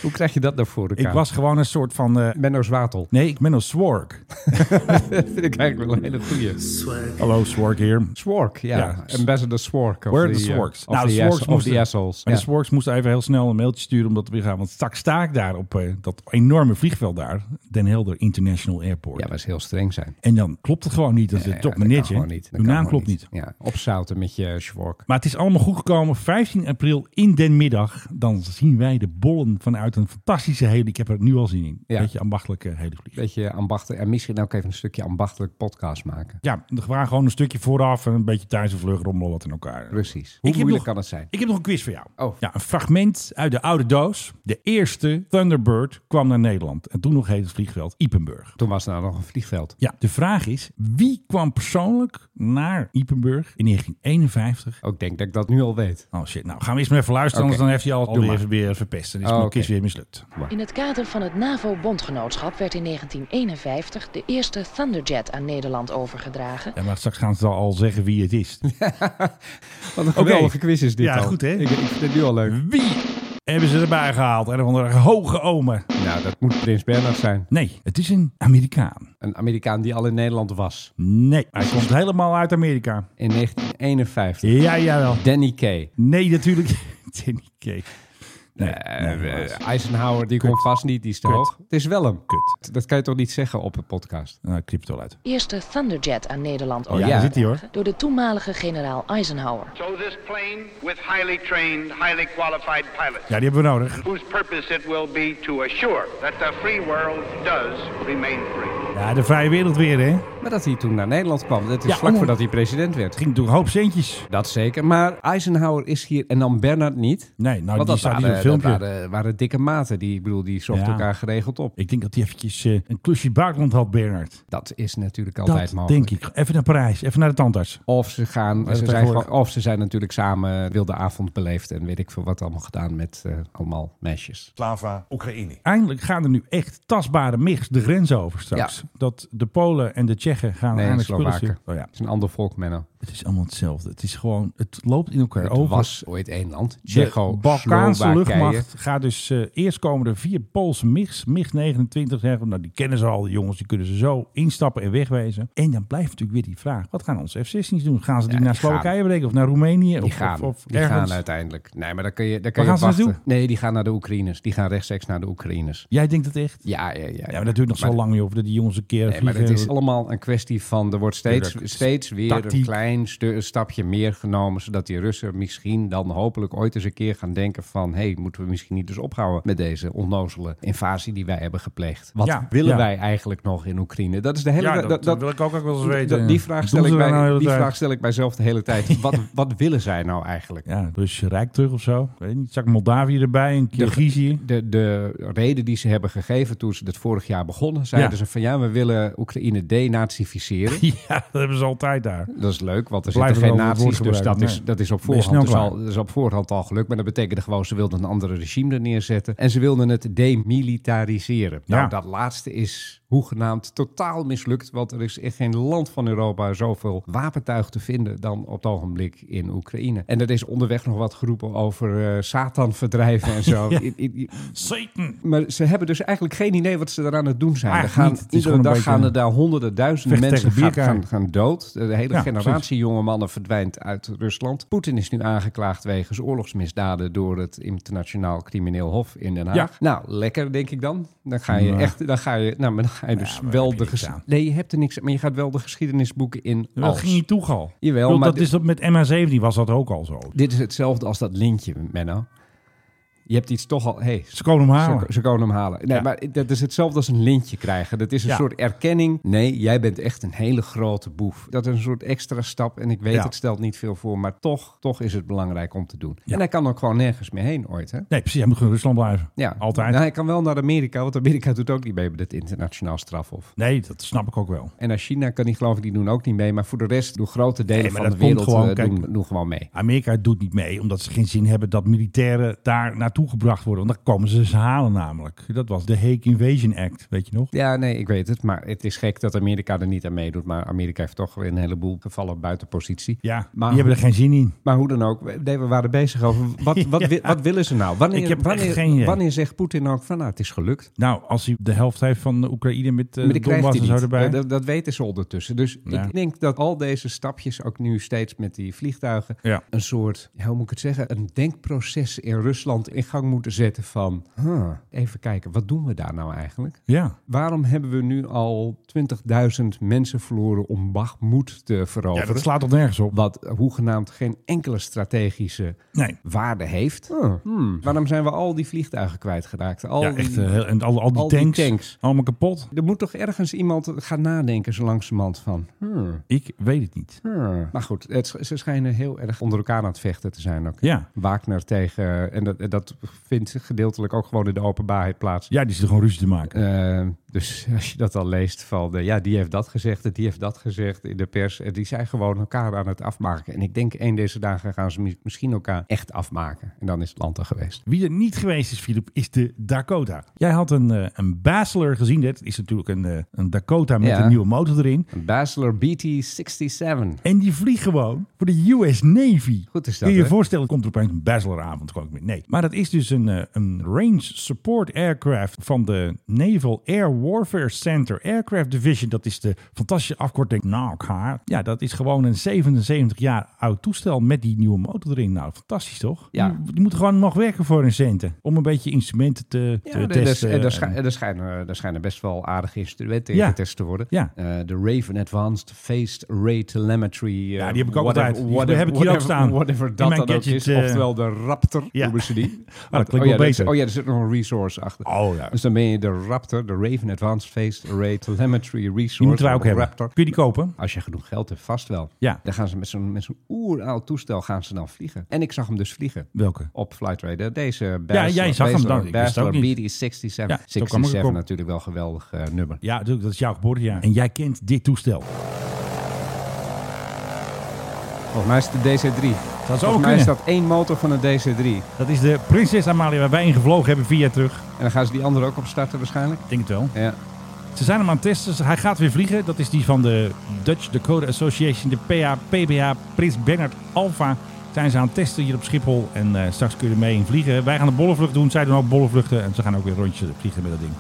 Speaker 9: Hoe krijg je dat nou voor elkaar?
Speaker 4: ik was gewoon een soort van... eh,
Speaker 9: Benno Zwatel.
Speaker 4: nee, ik ben een Swark.
Speaker 9: Dat vind ik eigenlijk wel een hele goeie.
Speaker 5: Swag.
Speaker 4: Hallo, Swark hier.
Speaker 9: Swark, ja.
Speaker 4: Ja.
Speaker 9: Ambassador Swark.
Speaker 4: Where are
Speaker 9: de
Speaker 4: the Swarks?
Speaker 9: Nou,
Speaker 4: de
Speaker 9: de Swarks of the
Speaker 4: moesten-
Speaker 9: assholes.
Speaker 4: Maar
Speaker 9: Ja.
Speaker 4: de Swarks moesten even heel snel een mailtje sturen omdat we weer gaan. Want straks sta ik daar op eh, dat enorme vliegveld daar. Den Helder International Airport.
Speaker 9: Ja, maar ze heel streng zijn.
Speaker 4: En dan klopt het gewoon niet. Dat is
Speaker 9: Ja,
Speaker 4: een top
Speaker 9: dat kan
Speaker 4: meneertje.
Speaker 9: gewoon niet. Dat kan
Speaker 4: Uw naam
Speaker 9: gewoon
Speaker 4: klopt niet.
Speaker 9: Ja, opzouten met je Swark.
Speaker 4: Maar het is allemaal goed gekomen. 15 april in den middag. Dan zien wij de bollen vanuit een fantastische hele. Ik heb er nu al zin in.
Speaker 9: Ja.
Speaker 4: Beetje ambachtelijke helikopter.
Speaker 9: Beetje ambachtelijk. En misschien ook even een stukje ambachtelijk podcast maken.
Speaker 4: Ja, we gaan gewoon een stukje vooraf en een beetje thuis of vlucht rommelen wat in elkaar.
Speaker 9: Precies.
Speaker 4: Ik
Speaker 9: Hoe
Speaker 4: heb
Speaker 9: moeilijk
Speaker 4: nog-
Speaker 9: kan het zijn?
Speaker 4: Ik heb nog een quiz voor jou.
Speaker 9: Oh.
Speaker 4: Ja, een fragment uit de oude doos. De eerste Thunderbird kwam naar Nederland. En toen nog heette het vliegveld Ipenburg.
Speaker 9: Toen was er nou nog een vliegveld.
Speaker 4: Ja, de vraag is, wie kwam persoonlijk naar Ipenburg in 1951?
Speaker 9: Ook denk dat ik dat nu al weet.
Speaker 4: Oh shit, nou gaan we eerst maar even luisteren,
Speaker 9: Oké.
Speaker 4: anders dan heeft hij al
Speaker 9: Doe
Speaker 4: alweer
Speaker 9: maar.
Speaker 4: weer verpest. En is
Speaker 9: Oh,
Speaker 4: mijn
Speaker 9: oké.
Speaker 4: quiz weer mislukt.
Speaker 10: In het kader van het NAVO-bondgenootschap werd in 1951 de eerste Thunderjet aan Nederland overgedragen.
Speaker 4: Ja, maar straks gaan ze al zeggen wie het is.
Speaker 9: Wat een geweldige quiz is dit
Speaker 4: Ja,
Speaker 9: al.
Speaker 4: goed, hè?
Speaker 9: Ik, ik vind het nu al leuk.
Speaker 4: Wie hebben ze erbij gehaald? En van de hoge omen.
Speaker 9: Nou, dat moet Prins Bernhard zijn.
Speaker 4: Nee, het is een Amerikaan.
Speaker 9: Een Amerikaan die al in Nederland was.
Speaker 4: Nee, hij komt helemaal uit Amerika.
Speaker 9: In 1951.
Speaker 4: Ja, jawel.
Speaker 9: Danny Kay.
Speaker 4: Nee, natuurlijk. Timmy Cake. Nee, nee,
Speaker 9: Eh,
Speaker 4: helaas.
Speaker 9: eh, Eisenhower, die komt vast niet, die is te
Speaker 4: Kut.
Speaker 9: hoog. Het is wel hem.
Speaker 4: Kut.
Speaker 9: Dat kan je toch niet zeggen op een podcast?
Speaker 4: Nou, ik knip het wel uit.
Speaker 10: Eerste Thunderjet aan Nederland
Speaker 4: Oh ja, daar zit hij hoor.
Speaker 10: door de toenmalige generaal Eisenhower.
Speaker 1: So this plane with highly trained, highly qualified pilots,
Speaker 4: Ja, die hebben we nodig.
Speaker 1: whose purpose it will be to assure that the free world does remain free.
Speaker 4: Ja, de vrije wereld weer, hè.
Speaker 9: Maar dat hij toen naar Nederland kwam, dat is
Speaker 4: Ja,
Speaker 9: vlak
Speaker 4: oh.
Speaker 9: voordat hij president werd.
Speaker 4: Het ging door een hoop centjes.
Speaker 9: Dat zeker, maar Eisenhower is hier en dan Bernard niet.
Speaker 4: Nee, nou, die
Speaker 9: dat
Speaker 4: staat hier
Speaker 9: waren,
Speaker 4: op het filmpje.
Speaker 9: dat waren, waren dikke maten, die, ik bedoel, die zochten
Speaker 4: Ja.
Speaker 9: elkaar geregeld op.
Speaker 4: Ik denk dat hij eventjes eh, een klusje buitenland had, Bernard.
Speaker 9: Dat is natuurlijk altijd
Speaker 4: Dat
Speaker 9: mogelijk.
Speaker 4: denk ik. Even naar Parijs, even naar de tandarts.
Speaker 9: Of ze, gaan,
Speaker 4: dat
Speaker 9: ze zijn
Speaker 4: tegenwoordig-
Speaker 9: gewoon- of ze zijn natuurlijk samen wilde avond beleefd en weet ik veel wat allemaal gedaan met eh, allemaal meisjes.
Speaker 3: Slava, Oekraïne.
Speaker 4: Eindelijk gaan er nu echt tastbare mix de grens over straks.
Speaker 9: Ja.
Speaker 4: Dat de Polen en de Tsjechen gaan
Speaker 9: Nee,
Speaker 4: eindelijk spullen
Speaker 9: Slowaken.
Speaker 4: sturen. Oh ja,
Speaker 9: Het is een ander volk, Menno.
Speaker 4: het is allemaal hetzelfde. Het is gewoon, het loopt in elkaar
Speaker 9: Het
Speaker 4: over.
Speaker 9: was ooit één land.
Speaker 4: De
Speaker 9: Tsjecho,
Speaker 4: Balkaanse
Speaker 9: Slowakije.
Speaker 4: luchtmacht gaat dus eh, eerst komen er vier Poolse MIGs. MIG 29 zeggen, we, nou die kennen ze al, die jongens, die kunnen ze zo instappen en wegwezen. En dan blijft natuurlijk weer die vraag, wat gaan onze F-16's doen? Gaan ze die
Speaker 9: Ja,
Speaker 4: naar
Speaker 9: die gaan.
Speaker 4: Slowakije brengen of naar Roemenië?
Speaker 9: Die
Speaker 4: of,
Speaker 9: gaan,
Speaker 4: of, of
Speaker 9: die
Speaker 4: ergens?
Speaker 9: gaan uiteindelijk. Nee, maar daar kun je, daar kun
Speaker 4: Waar
Speaker 9: je
Speaker 4: gaan
Speaker 9: op
Speaker 4: ze
Speaker 9: wachten.
Speaker 4: naartoe?
Speaker 9: Nee, die gaan naar de Oekraïners. Die gaan rechtstreeks naar de Oekraïners.
Speaker 4: Jij denkt het echt?
Speaker 9: Ja, ja, ja. ja.
Speaker 4: Ja, maar dat duurt nog zo lang, joh, voordat die jongens een keer
Speaker 9: Nee, maar het
Speaker 4: vliegen.
Speaker 9: is allemaal een kwestie van... Er wordt steeds,
Speaker 4: Tuurlijk.
Speaker 9: steeds weer
Speaker 4: Tactiek.
Speaker 9: een klein stu- stapje meer genomen... zodat die Russen misschien dan hopelijk ooit eens een keer gaan denken van... hé, hey, moeten we misschien niet eens ophouden met deze onnozele invasie die wij hebben gepleegd? Wat
Speaker 4: Ja,
Speaker 9: willen
Speaker 4: ja.
Speaker 9: wij eigenlijk nog in Oekraïne? Dat is de hele...
Speaker 4: Ja, dat- dat wil ik ook ook wel eens
Speaker 9: dat-
Speaker 4: weten.
Speaker 9: Die, vraag
Speaker 4: Wat
Speaker 9: stel,
Speaker 4: doen
Speaker 9: ik
Speaker 4: ze daar nou de
Speaker 9: bij,
Speaker 4: hele
Speaker 9: die
Speaker 4: tijd?
Speaker 9: vraag stel ik mijzelf de hele tijd. Wat, wat willen zij nou eigenlijk?
Speaker 4: Ja, dus Rijk terug of zo. Ik Weet niet, zak Moldavië erbij en Kyrgyzije.
Speaker 9: de, de reden die ze hebben gegeven toen ze dat vorig jaar begonnen, zeiden
Speaker 4: Ja.
Speaker 9: ze van ja, we willen Oekraïne denazificeren.
Speaker 4: Ja, dat hebben ze altijd daar.
Speaker 9: Dat is leuk, want er
Speaker 4: Blijven
Speaker 9: zitten
Speaker 4: we
Speaker 9: geen
Speaker 4: wel het woord
Speaker 9: naties, dus dat
Speaker 4: gebruiken,
Speaker 9: is,
Speaker 4: nee.
Speaker 9: dat, is op
Speaker 4: Ben je
Speaker 9: voorhand, dus
Speaker 4: snel
Speaker 9: al,
Speaker 4: klaar.
Speaker 9: dat is op voorhand al gelukt. Maar dat betekende gewoon, ze wilden een ander regime er neerzetten. En ze wilden het demilitariseren.
Speaker 4: Ja.
Speaker 9: Nou, dat laatste is hoegenaamd totaal mislukt, want er is in geen land van Europa zoveel wapentuig te vinden dan op het ogenblik in Oekraïne. En er is onderweg nog wat geroepen over eh Satan verdrijven en zo. I- i- i-
Speaker 4: Satan!
Speaker 9: maar ze hebben dus eigenlijk geen idee wat ze eraan aan het doen zijn. Er
Speaker 4: Eigenlijk
Speaker 9: gaan,
Speaker 4: niet. Het is
Speaker 9: iedere
Speaker 4: gewoon
Speaker 9: dag
Speaker 4: een beetje
Speaker 9: gaan er daar honderden duizenden
Speaker 4: vechten
Speaker 9: mensen
Speaker 4: tegen
Speaker 9: gaan,
Speaker 4: bierkaai.
Speaker 9: gaan, gaan dood. De hele
Speaker 4: Ja,
Speaker 9: generatie selectie jonge mannen verdwijnt uit Rusland. Poetin is nu aangeklaagd wegens oorlogsmisdaden door het Internationaal Crimineel Hof in Den Haag.
Speaker 4: Ja.
Speaker 9: Nou, lekker denk ik dan. Dan ga je
Speaker 4: Nou.
Speaker 9: echt, dan ga je, nou, maar dan ga je dus
Speaker 4: maar heb
Speaker 9: wel
Speaker 4: je
Speaker 9: de
Speaker 4: niks
Speaker 9: ges-
Speaker 4: aan.
Speaker 9: Nee, je hebt er niks aan, maar je gaat wel de geschiedenisboeken in
Speaker 4: Dat
Speaker 9: als.
Speaker 4: ging niet toch al.
Speaker 9: Jawel,
Speaker 4: Ik bedoel,
Speaker 9: maar
Speaker 4: dat
Speaker 9: dit-
Speaker 4: is dat met MH17 was dat ook al zo.
Speaker 9: Dit is hetzelfde als dat lintje, Menno. Je hebt iets toch al... Hey,
Speaker 4: Ze komen hem halen.
Speaker 9: Ze, ze konden hem halen. Nee,
Speaker 4: Ja.
Speaker 9: maar dat is hetzelfde als een lintje krijgen. Dat is een
Speaker 4: Ja.
Speaker 9: soort erkenning. Nee, jij bent echt een hele grote boef. Dat is een soort extra stap. En ik weet,
Speaker 4: Ja.
Speaker 9: het stelt niet veel voor, maar toch, toch is het belangrijk om te doen.
Speaker 4: Ja.
Speaker 9: En hij kan ook gewoon nergens meer heen ooit, hè?
Speaker 4: Nee, precies. Hij moet gewoon in Rusland blijven.
Speaker 9: Ja,
Speaker 4: Altijd.
Speaker 9: Nou, hij kan wel naar Amerika, want Amerika doet ook niet mee met het internationaal strafhof.
Speaker 4: Nee, dat snap ik ook wel.
Speaker 9: En naar China kan hij geloof ik, die doen ook niet mee. Maar voor de rest doen grote delen
Speaker 4: Nee, maar
Speaker 9: van de
Speaker 4: dat komt
Speaker 9: wereld
Speaker 4: gewoon,
Speaker 9: eh,
Speaker 4: kijk-
Speaker 9: doen, doen gewoon mee.
Speaker 4: Amerika doet niet mee, omdat ze geen zin hebben dat militairen daar naartoe gebracht worden. Want dan komen ze ze halen namelijk. Dat was de Hague Invasion Act, weet je nog?
Speaker 9: Ja, nee, ik weet het. Maar het is gek dat Amerika er niet aan meedoet. Maar Amerika heeft toch weer een heleboel gevallen buiten positie.
Speaker 4: Ja,
Speaker 9: Maar-
Speaker 4: die hebben er geen zin in.
Speaker 9: Maar hoe dan ook, we- nee, we waren bezig over wat, wat,
Speaker 4: Ja.
Speaker 9: wi- wat willen ze nou? Wanneer,
Speaker 4: Ik heb echt
Speaker 9: wanneer,
Speaker 4: geen idee.
Speaker 9: wanneer zegt Poetin ook van nou, het is gelukt?
Speaker 4: Nou, als hij de helft heeft van de Oekraïne met eh
Speaker 9: maar die krijgt
Speaker 4: Donbass
Speaker 9: hij
Speaker 4: en zo
Speaker 9: niet.
Speaker 4: erbij.
Speaker 9: Eh, Dat, dat weten ze ondertussen. Dus
Speaker 4: Ja.
Speaker 9: ik denk dat al deze stapjes, ook nu steeds met die vliegtuigen,
Speaker 4: Ja.
Speaker 9: een soort, ja, hoe moet ik het zeggen, een denkproces in Rusland in gang moeten zetten van, huh, even kijken, wat doen we daar nou eigenlijk?
Speaker 4: ja,
Speaker 9: Waarom hebben we nu al 20.000 mensen verloren om Bachmoed te
Speaker 4: ja,
Speaker 9: veroveren?
Speaker 4: dat slaat toch nergens op.
Speaker 9: wat hoegenaamd geen enkele strategische
Speaker 4: Nee.
Speaker 9: waarde heeft. Hmm. Waarom zijn we al die vliegtuigen kwijtgeraakt? Al
Speaker 4: Oh, Ja,
Speaker 9: die-
Speaker 4: echt, eh, heel- en al, al, die,
Speaker 9: al die
Speaker 4: tanks,
Speaker 9: tanks.
Speaker 4: allemaal kapot.
Speaker 9: Er moet toch ergens iemand gaan nadenken zo langzamerhand van... hmm,
Speaker 4: Ik weet het niet.
Speaker 9: hmm. Maar goed, het, ze schijnen heel erg onder elkaar aan het vechten te zijn ook.
Speaker 4: Ja.
Speaker 9: Wagner tegen... En dat, en dat vindt gedeeltelijk ook gewoon in de openbaarheid plaats.
Speaker 4: Ja, die zitten gewoon ruzie te maken.
Speaker 9: Eh, dus als je dat al leest van... eh, ja, die heeft dat gezegd en die heeft dat gezegd in de pers. En die zijn gewoon elkaar aan het afmaken. En ik denk één deze dagen gaan ze mi- misschien elkaar echt afmaken. En dan is het land er geweest.
Speaker 4: Wie er niet geweest is, Filip, is de Dakota. Jij had een, eh, een Basler gezien. Dat is natuurlijk een, eh, een Dakota met
Speaker 9: Ja.
Speaker 4: een nieuwe motor erin.
Speaker 9: Een Basler BT-67.
Speaker 4: En die vliegt gewoon voor de US Navy.
Speaker 9: Goed is dat,
Speaker 4: Kun je je
Speaker 9: hè?
Speaker 4: voorstellen, komt er opeens een Basleravond gewoon weer. Nee, maar dat is dus een, eh, een Range Support Aircraft van de Naval Air Warfare Center Aircraft Division. Dat is de fantastische afkorting NACA. Ja, dat is gewoon een 77 jaar oud toestel met die nieuwe motor erin. Nou, fantastisch toch?
Speaker 9: Ja.
Speaker 4: Die, die moeten gewoon nog werken voor hun centen. Om een beetje instrumenten te, te
Speaker 9: Ja, er- er-
Speaker 4: testen.
Speaker 9: er- er
Speaker 4: en-
Speaker 9: schij- er schijnen- eh, er schijnen best wel aardige instrumenten
Speaker 4: eh, Ja.
Speaker 9: getest te worden.
Speaker 4: Ja.
Speaker 9: Eh, de Raven Advanced Phased Ray Telemetry. eh,
Speaker 4: Ja, die heb ik ook
Speaker 9: whatever-
Speaker 4: altijd. Die
Speaker 9: whatever-
Speaker 4: heb ik hier ook
Speaker 9: whatever-
Speaker 4: staan.
Speaker 9: Whatever
Speaker 4: In
Speaker 9: dat
Speaker 4: mijn
Speaker 9: dan ook
Speaker 4: gadget,
Speaker 9: is.
Speaker 4: eh,
Speaker 9: Oftewel de Raptor,
Speaker 4: Ja.
Speaker 9: noemen ze die.
Speaker 4: Ah, dat klinkt wel
Speaker 9: ja, dat is-
Speaker 4: beter.
Speaker 9: oh ja, er zit nog een resource achter.
Speaker 4: Oh, ja.
Speaker 9: Dus dan ben je de Raptor, de Raven Advanced Phased Array Telemetry Resource.
Speaker 4: die moeten wij ook hebben.
Speaker 9: Raptor.
Speaker 4: Kun je die kopen?
Speaker 9: Als je genoeg geld hebt, vast wel.
Speaker 4: Ja.
Speaker 9: Dan gaan ze met zo'n met zo'n oeroud toestel gaan ze dan vliegen. En ik zag hem dus vliegen
Speaker 4: Welke?
Speaker 9: op Flightradar. Deze
Speaker 4: Ja, jij zag hem dan. Ik wist het ook niet.
Speaker 9: BD67.
Speaker 4: Ja, zo kwam ik
Speaker 9: 67
Speaker 4: erop.
Speaker 9: natuurlijk wel een geweldig eh, nummer.
Speaker 4: Ja, natuurlijk, dat is jouw geboortejaar. En jij kent dit toestel.
Speaker 9: Volgens mij is het de DC3.
Speaker 4: Dat zou
Speaker 9: Volgens
Speaker 4: ook
Speaker 9: mij is
Speaker 4: kunnen.
Speaker 9: dat één motor van een DC3.
Speaker 4: Dat is de Prinses Amalia waar wij in gevlogen hebben vier jaar terug.
Speaker 9: En dan gaan ze die andere ook opstarten waarschijnlijk.
Speaker 4: Ik denk het wel.
Speaker 9: Ja.
Speaker 4: Ze zijn hem aan het testen. Hij gaat weer vliegen. Dat is die van de Dutch Dakota Association, de PA, PBH, Prins Bernhard Alpha. Zijn ze aan het testen hier op Schiphol. En eh, straks kun je er mee in vliegen. Wij gaan de bollenvlucht doen. Zij doen ook bollenvluchten. En ze gaan ook weer rondjes vliegen met dat ding.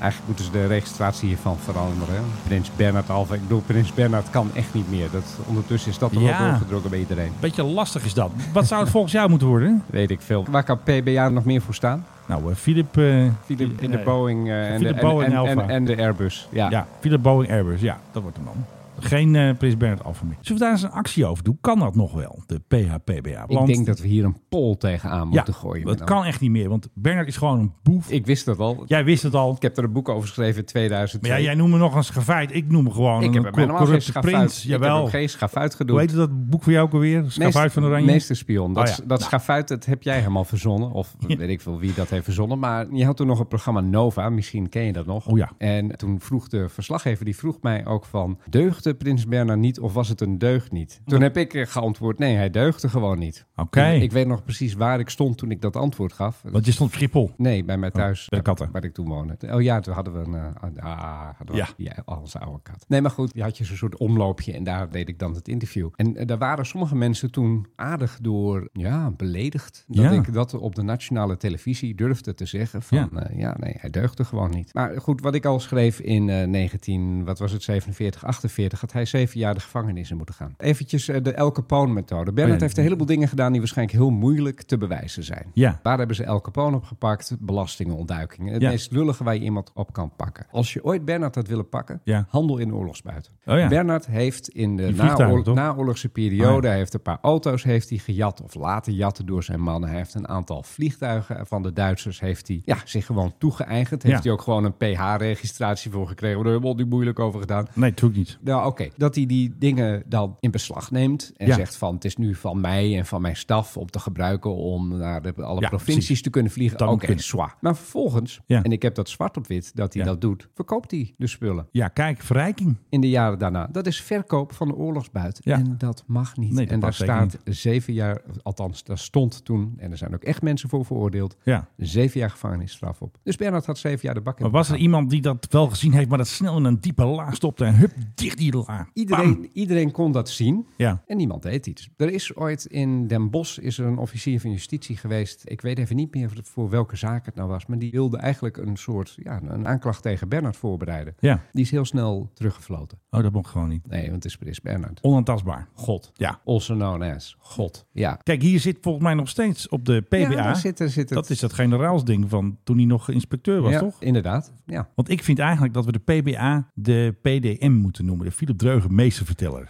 Speaker 9: Eigenlijk moeten ze de registratie hiervan veranderen. hè. Prins Bernhard Alpha. Ik bedoel, Prins Bernhard kan echt niet meer. Dat, ondertussen is dat er
Speaker 4: Ja.
Speaker 9: wel doorgedrongen bij iedereen.
Speaker 4: Beetje lastig is dat. Wat zou het volgens jou moeten worden?
Speaker 9: Weet ik veel. Waar kan PBA nog meer voor staan?
Speaker 4: Nou, eh, Philip, eh,
Speaker 9: Philip in
Speaker 4: eh,
Speaker 9: de Boeing eh, en, de,
Speaker 4: Philip Boeing
Speaker 9: en, en,
Speaker 4: Alpha.
Speaker 9: en- en de Airbus. Ja.
Speaker 4: Ja, Philip Boeing Airbus. Ja, dat wordt hem dan. Geen eh, Prins Bernhard Alpha meer. Zullen we daar eens een actie over doen? Kan dat nog wel? De PHPBA.
Speaker 9: Ik denk dat we hier een pol tegenaan moeten gooien.
Speaker 4: dat
Speaker 9: Menno.
Speaker 4: kan echt niet meer. Want Bernhard is gewoon een boef.
Speaker 9: Ik wist dat al.
Speaker 4: Jij wist het al.
Speaker 9: Ik heb er een boek over geschreven in
Speaker 4: Maar
Speaker 9: 2002.
Speaker 4: ja, jij noemt me nog eens schavuit. Ik noem me gewoon
Speaker 9: ik heb
Speaker 4: een
Speaker 9: er
Speaker 4: cor-
Speaker 9: helemaal geen
Speaker 4: corrupte
Speaker 9: schaaf
Speaker 4: prins.
Speaker 9: uit. Ik heb
Speaker 4: Jawel.
Speaker 9: er geen schaaf uitgedoen.
Speaker 4: Hoe heette dat boek voor jou ook alweer? Schavuit van Oranje?
Speaker 9: Meesterspion. Dat,
Speaker 4: Oh ja.
Speaker 9: dat schafuit, dat heb jij helemaal verzonnen. Of weet ik veel wie dat heeft verzonnen. Maar je had toen nog een programma Nova. Misschien ken je dat nog.
Speaker 4: Oh ja.
Speaker 9: En toen vroeg de verslaggever, die vroeg mij ook van... Deugde Prins Bernhard niet of was het een deugd niet? Toen heb ik eh, geantwoord, nee, hij deugde gewoon niet.
Speaker 4: Oké.
Speaker 9: Ik, ik weet nog precies waar ik stond toen ik dat antwoord gaf.
Speaker 4: Want je stond op Schiphol.
Speaker 9: Nee, bij mij thuis.
Speaker 4: Oh,
Speaker 9: eh,
Speaker 4: bij de katten.
Speaker 9: Waar ik toen woonde. Oh ja, toen hadden we een... eh, ah, hadden we,
Speaker 4: Ja.
Speaker 9: ja. al onze oude kat. Nee, maar goed. Je had je zo'n soort omloopje en daar deed ik dan het interview. En eh, daar waren sommige mensen toen aardig door, ja, beledigd. Dat
Speaker 4: Ja.
Speaker 9: ik dat op de nationale televisie durfde te zeggen van...
Speaker 4: Ja.
Speaker 9: Ja, ja eh, nee, hij deugde gewoon niet. Maar goed, wat ik al schreef in eh, 19... Wat was het? 47, 48 dan gaat hij zeven jaar de gevangenis in moeten gaan. Eventjes eh, de El Capone-methode. Bennett
Speaker 4: Oh ja.
Speaker 9: heeft een heleboel dingen gedaan die waarschijnlijk heel moeilijk te bewijzen zijn.
Speaker 4: Ja.
Speaker 9: Waar hebben ze El Capone op gepakt? Belastingontduikingen. Het
Speaker 4: Ja.
Speaker 9: meest lullige waar je iemand op kan pakken. Als je ooit Bernard had willen pakken,
Speaker 4: Ja.
Speaker 9: handel in oorlogsbuiten.
Speaker 4: Oh ja.
Speaker 9: Bernard heeft in de
Speaker 4: Die vliegtuigen,
Speaker 9: naoor-
Speaker 4: toch?
Speaker 9: naoorlogse periode
Speaker 4: Oh ja.
Speaker 9: hij heeft een paar auto's heeft hij gejat of laten jatten door zijn mannen. Hij heeft een aantal vliegtuigen van de Duitsers heeft hij, ja, zich gewoon toegeëigend. Heeft
Speaker 4: Ja.
Speaker 9: hij ook gewoon een PH-registratie voor gekregen. Daar hebben we ons niet moeilijk over gedaan.
Speaker 4: Nee, natuurlijk niet.
Speaker 9: Nou, oké. Dat hij die dingen dan in beslag neemt. En
Speaker 4: Ja.
Speaker 9: zegt van, het is nu van mij en van mijn staf om te gebruiken om naar de, alle
Speaker 4: Ja,
Speaker 9: provincies
Speaker 4: precies.
Speaker 9: te kunnen vliegen.
Speaker 4: Dat moet
Speaker 9: Oké,
Speaker 4: kunnen.
Speaker 9: zwa. Maar vervolgens,
Speaker 4: Ja.
Speaker 9: en ik heb dat zwart op wit, dat hij
Speaker 4: Ja.
Speaker 9: dat doet, verkoopt hij de spullen
Speaker 4: Ja, kijk, verrijking.
Speaker 9: in de jaren daarna. Dat is verkoop van de oorlogsbuit.
Speaker 4: Ja.
Speaker 9: En dat mag niet.
Speaker 4: Nee, dat
Speaker 9: en daar
Speaker 4: mag
Speaker 9: staat
Speaker 4: zeker
Speaker 9: zeven jaar, althans, daar stond toen, en er zijn ook echt mensen voor veroordeeld,
Speaker 4: Ja.
Speaker 9: zeven jaar gevangenisstraf op. Dus Bernard had zeven jaar de bak in.
Speaker 4: Maar was er iemand die dat wel gezien heeft, maar dat snel in een diepe la stopte en hup, dicht die la. Bam.
Speaker 9: Iedereen, iedereen kon dat zien.
Speaker 4: Ja.
Speaker 9: En niemand deed iets. Er is ooit in Den Bosch is er een officier van justitie geweest. Ik weet even niet meer voor welke zaak het nou was. Maar die wilde eigenlijk een soort ja, een aanklacht tegen Bernard voorbereiden.
Speaker 4: Ja.
Speaker 9: Die is heel snel teruggefloten.
Speaker 4: Oh, dat mocht gewoon niet.
Speaker 9: Nee, want het is, het is Bernard.
Speaker 4: Onantastbaar. God. Ja.
Speaker 9: Also known as. God. Ja.
Speaker 4: Kijk, hier zit volgens mij nog steeds op de PBA.
Speaker 9: Ja, daar zit, daar zit het.
Speaker 4: dat is dat generaalsding van toen hij nog inspecteur was,
Speaker 9: ja,
Speaker 4: toch?
Speaker 9: Inderdaad. Ja.
Speaker 4: Want ik vind eigenlijk dat we de PBA de PDM moeten noemen. De Philip Dreugen meesterverteller.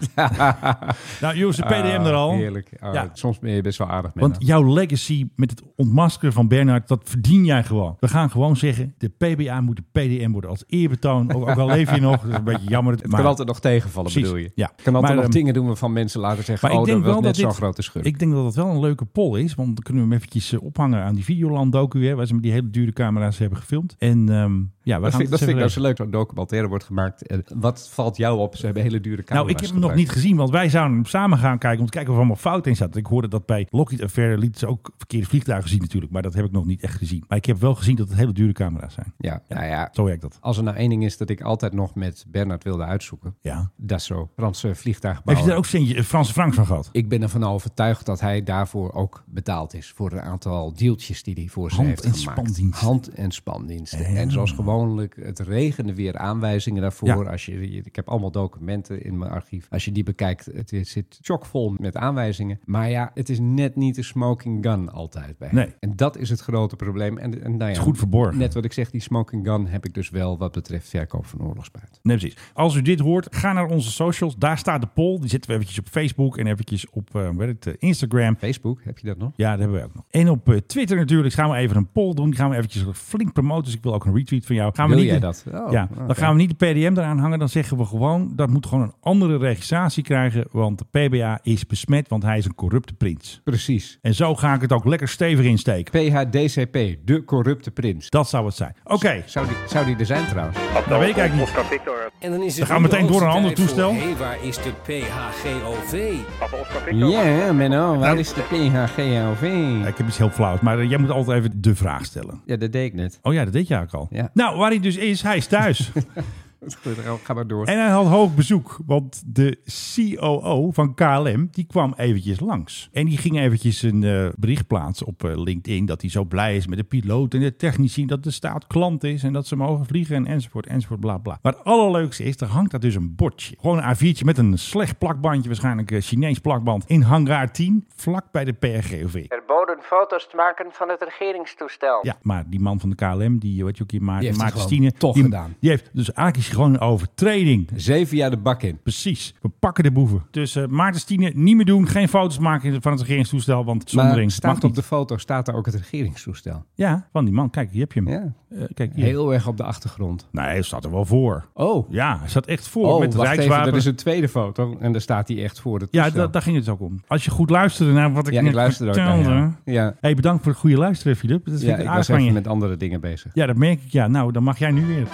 Speaker 4: nou, jongens, de PDM er al.
Speaker 9: Ah, Heerlijk. Ah,
Speaker 4: Ja.
Speaker 9: Soms ben je best wel aardig mee.
Speaker 4: Want jouw legacy met het ontmaskeren van Bernard, dat verdien jij gewoon. We gaan gewoon zeggen, de PBA moet de PDM worden als eerbetoon. Ook, ook al leef je nog, dat is een beetje jammer.
Speaker 9: het kan altijd nog tegenvallen,
Speaker 4: Precies,
Speaker 9: bedoel je?
Speaker 4: ja.
Speaker 9: Het kan altijd
Speaker 4: Maar,
Speaker 9: nog
Speaker 4: ehm,
Speaker 9: dingen doen waarvan mensen later zeggen... oh, dat was net zo'n grote schurk.
Speaker 4: ik denk dat dat wel een leuke poll is. Want dan kunnen we hem eventjes eh, ophangen aan die Videoland docu. Hè, waar ze met die hele dure camera's hebben gefilmd. En ehm ja, we
Speaker 9: Dat
Speaker 4: gaan
Speaker 9: vind, dat
Speaker 4: het
Speaker 9: vind ik nou
Speaker 4: even lezen.
Speaker 9: zo leuk, dat een documentaire wordt gemaakt. En wat valt jou op? Ze hebben hele dure camera's
Speaker 4: Nou, ik heb hem nog
Speaker 9: gebruikt.
Speaker 4: niet gezien, want wij zouden hem samen gaan kijken om te kijken of er allemaal fout in zat. Ik hoorde dat bij Lockheed Affair liet ze ook verkeerde vliegtuigen zien natuurlijk, maar dat heb ik nog niet echt gezien. Maar ik heb wel gezien dat het hele dure camera's zijn.
Speaker 9: Ja, nou ja.
Speaker 4: Zo werkt dat.
Speaker 9: Als er nou één ding is dat ik altijd nog met Bernard wilde uitzoeken.
Speaker 4: Ja.
Speaker 9: Dat is zo. Franse
Speaker 4: Heb je
Speaker 9: vliegtuigbouwer.
Speaker 4: daar ook Sint- eh, Franse Franks van gehad?
Speaker 9: Ik ben ervan overtuigd dat hij daarvoor ook betaald is. Voor een aantal deeltjes die hij voor ze
Speaker 4: Hand-
Speaker 9: heeft
Speaker 4: en
Speaker 9: gemaakt.
Speaker 4: spandiensten.
Speaker 9: Hand- en spandiensten. En zoals gewoonlijk, het regende weer aanwijzingen daarvoor. Als je, ik heb allemaal documenten in mijn archief. Als je die bekijkt, het is- zit chockvol met aanwijzingen. Maar ja, het is net niet de smoking gun altijd bij hem.
Speaker 4: Nee.
Speaker 9: En dat is het grote probleem. En, en nou ja,
Speaker 4: is goed verborgen.
Speaker 9: Net wat ik zeg, die smoking gun heb ik dus wel wat betreft verkoop van oorlogsbuit.
Speaker 4: Nee, precies. Als u dit hoort, ga naar onze socials. Daar staat de poll. Die zetten we eventjes op Facebook en eventjes op eh, weet het, eh, Instagram.
Speaker 9: Facebook, heb je dat nog?
Speaker 4: Ja, dat hebben we ook nog. En op eh, Twitter natuurlijk gaan we even een poll doen. Die gaan we eventjes flink promoten. Dus ik wil ook een retweet van jou. Gaan we
Speaker 9: Wil
Speaker 4: niet
Speaker 9: jij
Speaker 4: de-
Speaker 9: dat? Oh,
Speaker 4: ja,
Speaker 9: oké.
Speaker 4: dan gaan we niet de PDM eraan hangen. Dan zeggen we gewoon, dat moet gewoon een andere registratie krijgen. Want de PBA is besmet, want hij is een corrupte prins.
Speaker 9: Precies.
Speaker 4: En zo ga ik het ook lekker stevig insteken.
Speaker 9: PHDCP, de corrupte prins.
Speaker 4: Dat zou het zijn. Oké,
Speaker 9: Zou die, zou die er zijn trouwens?
Speaker 4: dat weet ik eigenlijk niet.
Speaker 1: Oscar eh, Victor.
Speaker 11: En dan is het
Speaker 4: We gaan
Speaker 11: nu
Speaker 4: meteen
Speaker 11: de
Speaker 4: door naar een
Speaker 11: hoogste
Speaker 4: ander
Speaker 11: tijd
Speaker 4: toestel.
Speaker 11: voor, Hé, waar is de PHGOV?
Speaker 1: Papa Oscar
Speaker 9: Ja,
Speaker 1: Victor.
Speaker 9: Menno, waar
Speaker 4: Nou.
Speaker 9: is de PHGOV?
Speaker 4: Ik heb iets heel flauws, maar eh, jij moet altijd even de vraag stellen.
Speaker 9: Ja, dat deed ik net.
Speaker 4: Oh ja, dat deed je eigenlijk al.
Speaker 9: Ja.
Speaker 4: Nou, waar hij dus is, hij is thuis.
Speaker 9: Goed, ga maar door.
Speaker 4: En hij had hoog bezoek, want de COO van KLM die kwam eventjes langs. En die ging eventjes een eh, bericht plaatsen op eh, LinkedIn dat hij zo blij is met de piloot en de technici, dat de staat klant is en dat ze mogen vliegen en enzovoort, enzovoort, bla bla. Maar het allerleukste is, er hangt daar dus een bordje. Gewoon een A4'tje met een slecht plakbandje, waarschijnlijk een Chinees plakband, in hangar 10, vlak bij de PRGOV.
Speaker 11: Verboden foto's te maken van het regeringstoestel.
Speaker 4: Ja, maar die man van de KLM, die, eh, wat je ook hier maakt,
Speaker 9: Die heeft het
Speaker 4: Maarten
Speaker 9: gewoon
Speaker 4: Stine,
Speaker 9: toch
Speaker 4: die,
Speaker 9: gedaan.
Speaker 4: Die heeft, dus eigenlijk is hij gewoon een overtreding.
Speaker 9: Zeven jaar de bak in.
Speaker 4: Precies, we pakken de boeven. Dus eh Maarten Stine, niet meer doen. Geen foto's maken van het regeringstoestel, want
Speaker 9: Maar
Speaker 4: zondering mag
Speaker 9: staat op
Speaker 4: niet.
Speaker 9: de foto staat daar ook het regeringstoestel.
Speaker 4: Ja, van die man. Kijk, hier heb je hem.
Speaker 9: Ja.
Speaker 4: Eh, kijk hier.
Speaker 9: Heel erg op de achtergrond.
Speaker 4: Nee, hij staat er wel voor.
Speaker 9: Oh,
Speaker 4: Ja, hij staat echt voor
Speaker 9: oh
Speaker 4: met het
Speaker 9: wacht even,
Speaker 4: rijkswapen.
Speaker 9: dat is een tweede foto. En daar staat hij echt voor het
Speaker 4: Ja,
Speaker 9: toestel.
Speaker 4: da- daar ging het ook om. Als je goed luisterde naar wat ik
Speaker 9: ja,
Speaker 4: net
Speaker 9: ik luister ook naar
Speaker 4: vertelde.
Speaker 9: jou. Ja,
Speaker 4: hey, bedankt voor het goede luisteren, Filip. Dat vind
Speaker 9: ja
Speaker 4: ik
Speaker 9: ik
Speaker 4: aardig
Speaker 9: was
Speaker 4: van je.
Speaker 9: even met andere dingen bezig.
Speaker 4: Ja, dat merk ik. Ja, nou, dan mag jij nu weer.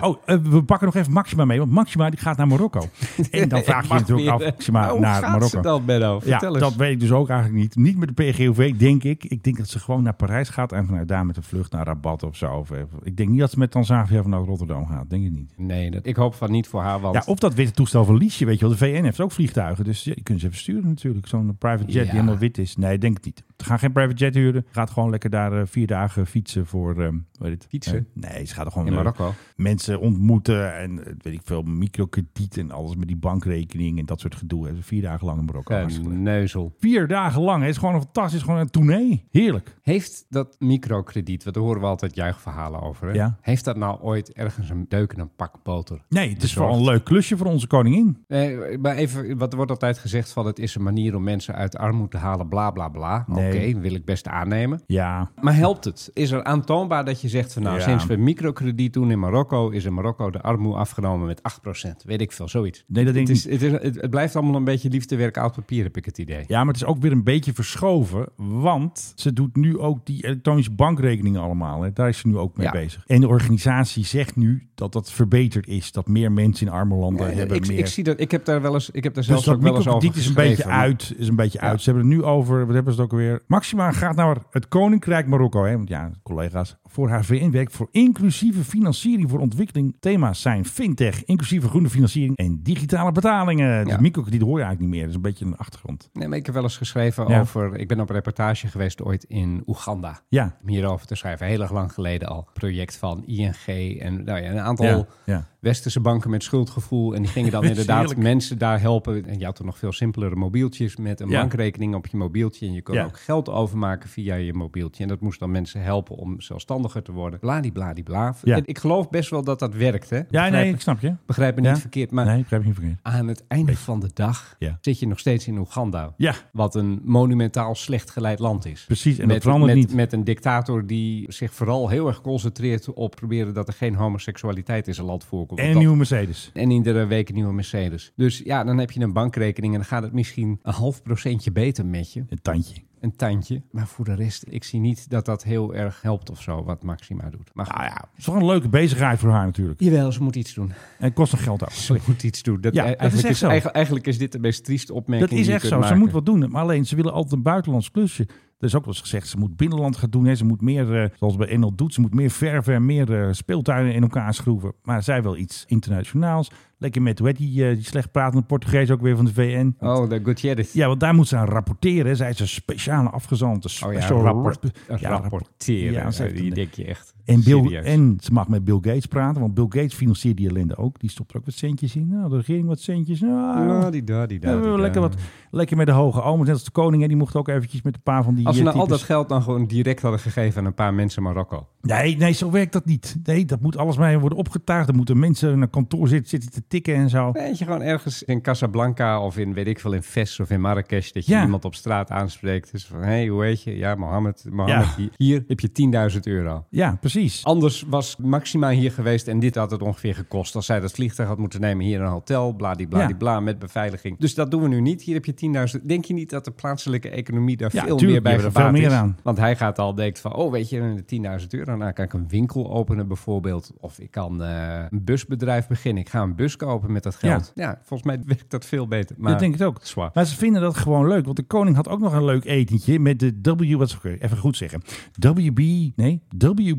Speaker 4: Oh, eh, we pakken nog even Maxima mee, want Maxima die gaat naar Marokko. En dan vraag je je
Speaker 9: Mag
Speaker 4: natuurlijk
Speaker 9: weer.
Speaker 4: af, Maxima,
Speaker 9: Maar hoe
Speaker 4: naar
Speaker 9: gaat
Speaker 4: Marokko.
Speaker 9: ze dan, Benno?
Speaker 4: Ja,
Speaker 9: Vertel eens.
Speaker 4: dat weet ik dus ook eigenlijk niet. Niet met de PGOV, denk ik. Ik denk dat ze gewoon naar Parijs gaat en vanuit daar met een vlucht naar Rabat of zo. Of, eh, Ik denk niet dat ze met Tanzania vanuit Rotterdam gaat. Denk ik niet.
Speaker 9: Nee, dat, ik hoop van niet voor haar, want...
Speaker 4: Ja, of dat witte toestel van Liesje, weet je wel. De VN heeft ook vliegtuigen, dus ja, die kunnen ze even sturen natuurlijk. Zo'n private jet die
Speaker 9: Ja.
Speaker 4: helemaal wit is. Nee, ik denk het niet. Ze gaan geen private jet huren. Gaat gewoon lekker daar eh, vier dagen fietsen voor... ehm, hoe heet het?
Speaker 9: Fietsen?
Speaker 4: Eh, nee, ze gaat er gewoon...
Speaker 9: In
Speaker 4: eh,
Speaker 9: Marokko?
Speaker 4: mensen ontmoeten en eh, weet ik veel, microkrediet en alles met die bankrekening en dat soort gedoe. Hebben ze vier dagen lang in Marokko. Hartstikke leuk.
Speaker 9: eh, Neuzel.
Speaker 4: Vier dagen lang. Het is gewoon een fantastisch, gewoon een tournee. Heerlijk.
Speaker 9: Heeft dat microkrediet, want daar horen we altijd juichverhalen over, hè?
Speaker 4: Ja.
Speaker 9: heeft dat nou ooit ergens een deuk en een pak boter?
Speaker 4: Nee, het is
Speaker 9: bezorgd?
Speaker 4: vooral een leuk klusje voor onze koningin.
Speaker 9: Nee, maar even, wat wordt altijd gezegd van het is een manier om mensen uit armoede te halen, bla bla bla.
Speaker 4: Nee.
Speaker 9: Oké, wil ik best aannemen.
Speaker 4: Ja,
Speaker 9: Maar helpt het? Is er aantoonbaar dat je zegt van nou,
Speaker 4: Ja.
Speaker 9: sinds we microkrediet doen in Marokko, is in Marokko de armoede afgenomen met 8%? Weet ik veel, zoiets.
Speaker 4: nee, dat denk
Speaker 9: Het,
Speaker 4: ik
Speaker 9: is,
Speaker 4: niet.
Speaker 9: het, is, het, het blijft allemaal een beetje liefdewerk oud papier, heb ik het idee.
Speaker 4: Ja, maar het is ook weer een beetje verschoven, want ze doet nu ook die elektronische bankrekeningen allemaal. Hè. Daar is ze nu ook mee
Speaker 9: Ja.
Speaker 4: bezig. En de organisatie zegt nu dat dat verbeterd is, dat meer mensen in arme landen hebben
Speaker 9: Eh, ik,
Speaker 4: meer.
Speaker 9: ik zie dat, ik heb daar wel eens, ik heb daar
Speaker 4: Dus
Speaker 9: zelfs
Speaker 4: dat
Speaker 9: ook wel eens over
Speaker 4: microkrediet is een beetje
Speaker 9: geschreven, maar-
Speaker 4: uit. Is een beetje
Speaker 9: Ja.
Speaker 4: uit. Ze hebben het nu over, wat hebben ze het ook weer? Maxima gaat naar het Koninkrijk Marokko. Hè? Want ja, collega's, voor haar VN-werk voor inclusieve financiering voor ontwikkeling. Thema's zijn fintech, inclusieve groene financiering en digitale betalingen. Dus
Speaker 9: Ja.
Speaker 4: microkrediet hoor je eigenlijk niet meer. Dat is een beetje een achtergrond.
Speaker 9: Nee, maar ik heb wel eens geschreven
Speaker 4: Ja.
Speaker 9: over. Ik ben op een reportage geweest ooit in Oeganda.
Speaker 4: Ja,
Speaker 9: Om hierover te schrijven, heel erg lang geleden al. Project van ING en nou ja, een aantal
Speaker 4: ja, ja.
Speaker 9: westerse banken met schuldgevoel. En die gingen dan
Speaker 4: Is
Speaker 9: inderdaad
Speaker 4: heerlijk.
Speaker 9: mensen daar helpen. En je had toen nog veel simpelere mobieltjes met een
Speaker 4: Ja.
Speaker 9: bankrekening op je mobieltje. En je kon
Speaker 4: Ja.
Speaker 9: ook geld overmaken via je mobieltje. En dat moest dan mensen helpen om zelfstandiger te worden. Bladibladibla.
Speaker 4: Ja.
Speaker 9: En ik geloof best wel dat dat werkt, hè?
Speaker 4: Ja,
Speaker 9: Begrijp-
Speaker 4: nee, ik snap je.
Speaker 9: Begrijp me niet
Speaker 4: Ja.
Speaker 9: verkeerd, maar
Speaker 4: nee, ik begrijp je niet verkeerd.
Speaker 9: aan het einde van de dag
Speaker 4: Ja.
Speaker 9: zit je nog steeds in Oeganda.
Speaker 4: Ja.
Speaker 9: Wat een monumentaal slecht geleid land is.
Speaker 4: Precies, en
Speaker 9: met,
Speaker 4: dat verandert
Speaker 9: met,
Speaker 4: niet.
Speaker 9: Met een dictator die zich vooral heel erg concentreert op proberen dat er geen homoseksualiteit in zijn land voorkomt.
Speaker 4: En
Speaker 9: Want
Speaker 4: een
Speaker 9: dat-
Speaker 4: nieuwe Mercedes.
Speaker 9: en iedere week een nieuwe Mercedes. Dus ja, dan heb je een bankrekening en dan gaat het misschien een half procentje beter met je.
Speaker 4: Een tandje.
Speaker 9: Een tandje. Maar voor de rest, ik zie niet dat dat heel erg helpt of zo, wat Maxima doet. Maar
Speaker 4: Nou ja, het is wel een leuke bezigheid voor haar natuurlijk.
Speaker 9: jawel, ze moet iets doen.
Speaker 4: En het kost nog geld ook.
Speaker 9: Ze moet iets doen. Dat,
Speaker 4: Ja,
Speaker 9: eh,
Speaker 4: dat is
Speaker 9: eigenlijk,
Speaker 4: echt zo.
Speaker 9: Eigenlijk, eigenlijk is dit de meest trieste opmerking
Speaker 4: Dat is
Speaker 9: die je
Speaker 4: echt
Speaker 9: kunt
Speaker 4: zo. Ze
Speaker 9: maken.
Speaker 4: moet wat doen. Maar alleen, ze willen altijd een buitenlands klusje. Er is ook wel eens gezegd, ze moet binnenland gaan doen. Hè. Ze moet meer, eh, zoals bij Enel doet, ze moet meer verven en meer eh, speeltuinen in elkaar schroeven. Maar zij wil iets internationaals. Lekker met, hoe heet die, eh, die slecht pratende Portugees ook weer van de VN.
Speaker 9: Oh, de Gutierrez.
Speaker 4: Ja, want daar moet ze aan rapporteren. hè. Zij is een speciale afgezante.
Speaker 9: Oh ja,
Speaker 4: special
Speaker 9: rapport,
Speaker 4: rapport- ja, rapport-
Speaker 9: rapporteren.
Speaker 4: Ja, ze
Speaker 9: Ja,
Speaker 4: heeft
Speaker 9: die
Speaker 4: een-
Speaker 9: denk je echt.
Speaker 4: en, Bill,
Speaker 9: serieus.
Speaker 4: en ze mag met Bill Gates praten, want Bill Gates financiert die ellende ook. Die stopt er ook wat centjes in. Nou, de regering wat centjes. Nou,
Speaker 9: Ja, Ah, eh, die daar, die daar,
Speaker 4: Ja, we
Speaker 9: die
Speaker 4: hebben lekker,
Speaker 9: daar.
Speaker 4: wat, lekker met de hoge omens. Net als de koning, hè, die mocht ook eventjes met een paar van die
Speaker 9: Als we
Speaker 4: eh,
Speaker 9: nou al dat
Speaker 4: types-
Speaker 9: geld dan gewoon direct hadden gegeven aan een paar mensen in Marokko.
Speaker 4: Nee, nee, zo werkt dat niet. Nee, dat moet alles mee worden opgetuigd. Er moeten mensen naar kantoor zitten, zitten te tikken en zo.
Speaker 9: Weet je, gewoon ergens in Casablanca of in, weet ik veel, in Fes of in Marrakesh... dat je
Speaker 4: Ja.
Speaker 9: iemand op straat aanspreekt. Dus van, hé, hey, hoe heet je? Ja, Mohammed. Mohammed
Speaker 4: Ja.
Speaker 9: hier, hier heb je 10.000 euro.
Speaker 4: Ja, precies.
Speaker 9: Anders was Maxima hier geweest en dit had het ongeveer gekost. Als zij dat vliegtuig had moeten nemen, hier een hotel, bladibladibla, met beveiliging. Dus dat doen we nu niet. Hier heb je 10.000. Denk je niet dat de plaatselijke economie daar
Speaker 4: Ja,
Speaker 9: veel
Speaker 4: tuurlijk,
Speaker 9: meer bij
Speaker 4: die hebben er
Speaker 9: gebaat
Speaker 4: veel
Speaker 9: is?
Speaker 4: meer aan.
Speaker 9: Want hij gaat al denkt van, oh weet je, 10.000 euro, nou kan ik een winkel openen bijvoorbeeld. Of ik kan eh, een busbedrijf beginnen. Ik ga een bus kopen met dat geld. Ja, volgens mij werkt dat veel beter. Maar
Speaker 4: dat denk ik ook.
Speaker 9: Zwaar.
Speaker 4: Maar ze vinden dat gewoon leuk. Want de koning had ook nog een leuk etentje met de W... Wat zou ik even goed zeggen? WB... Nee,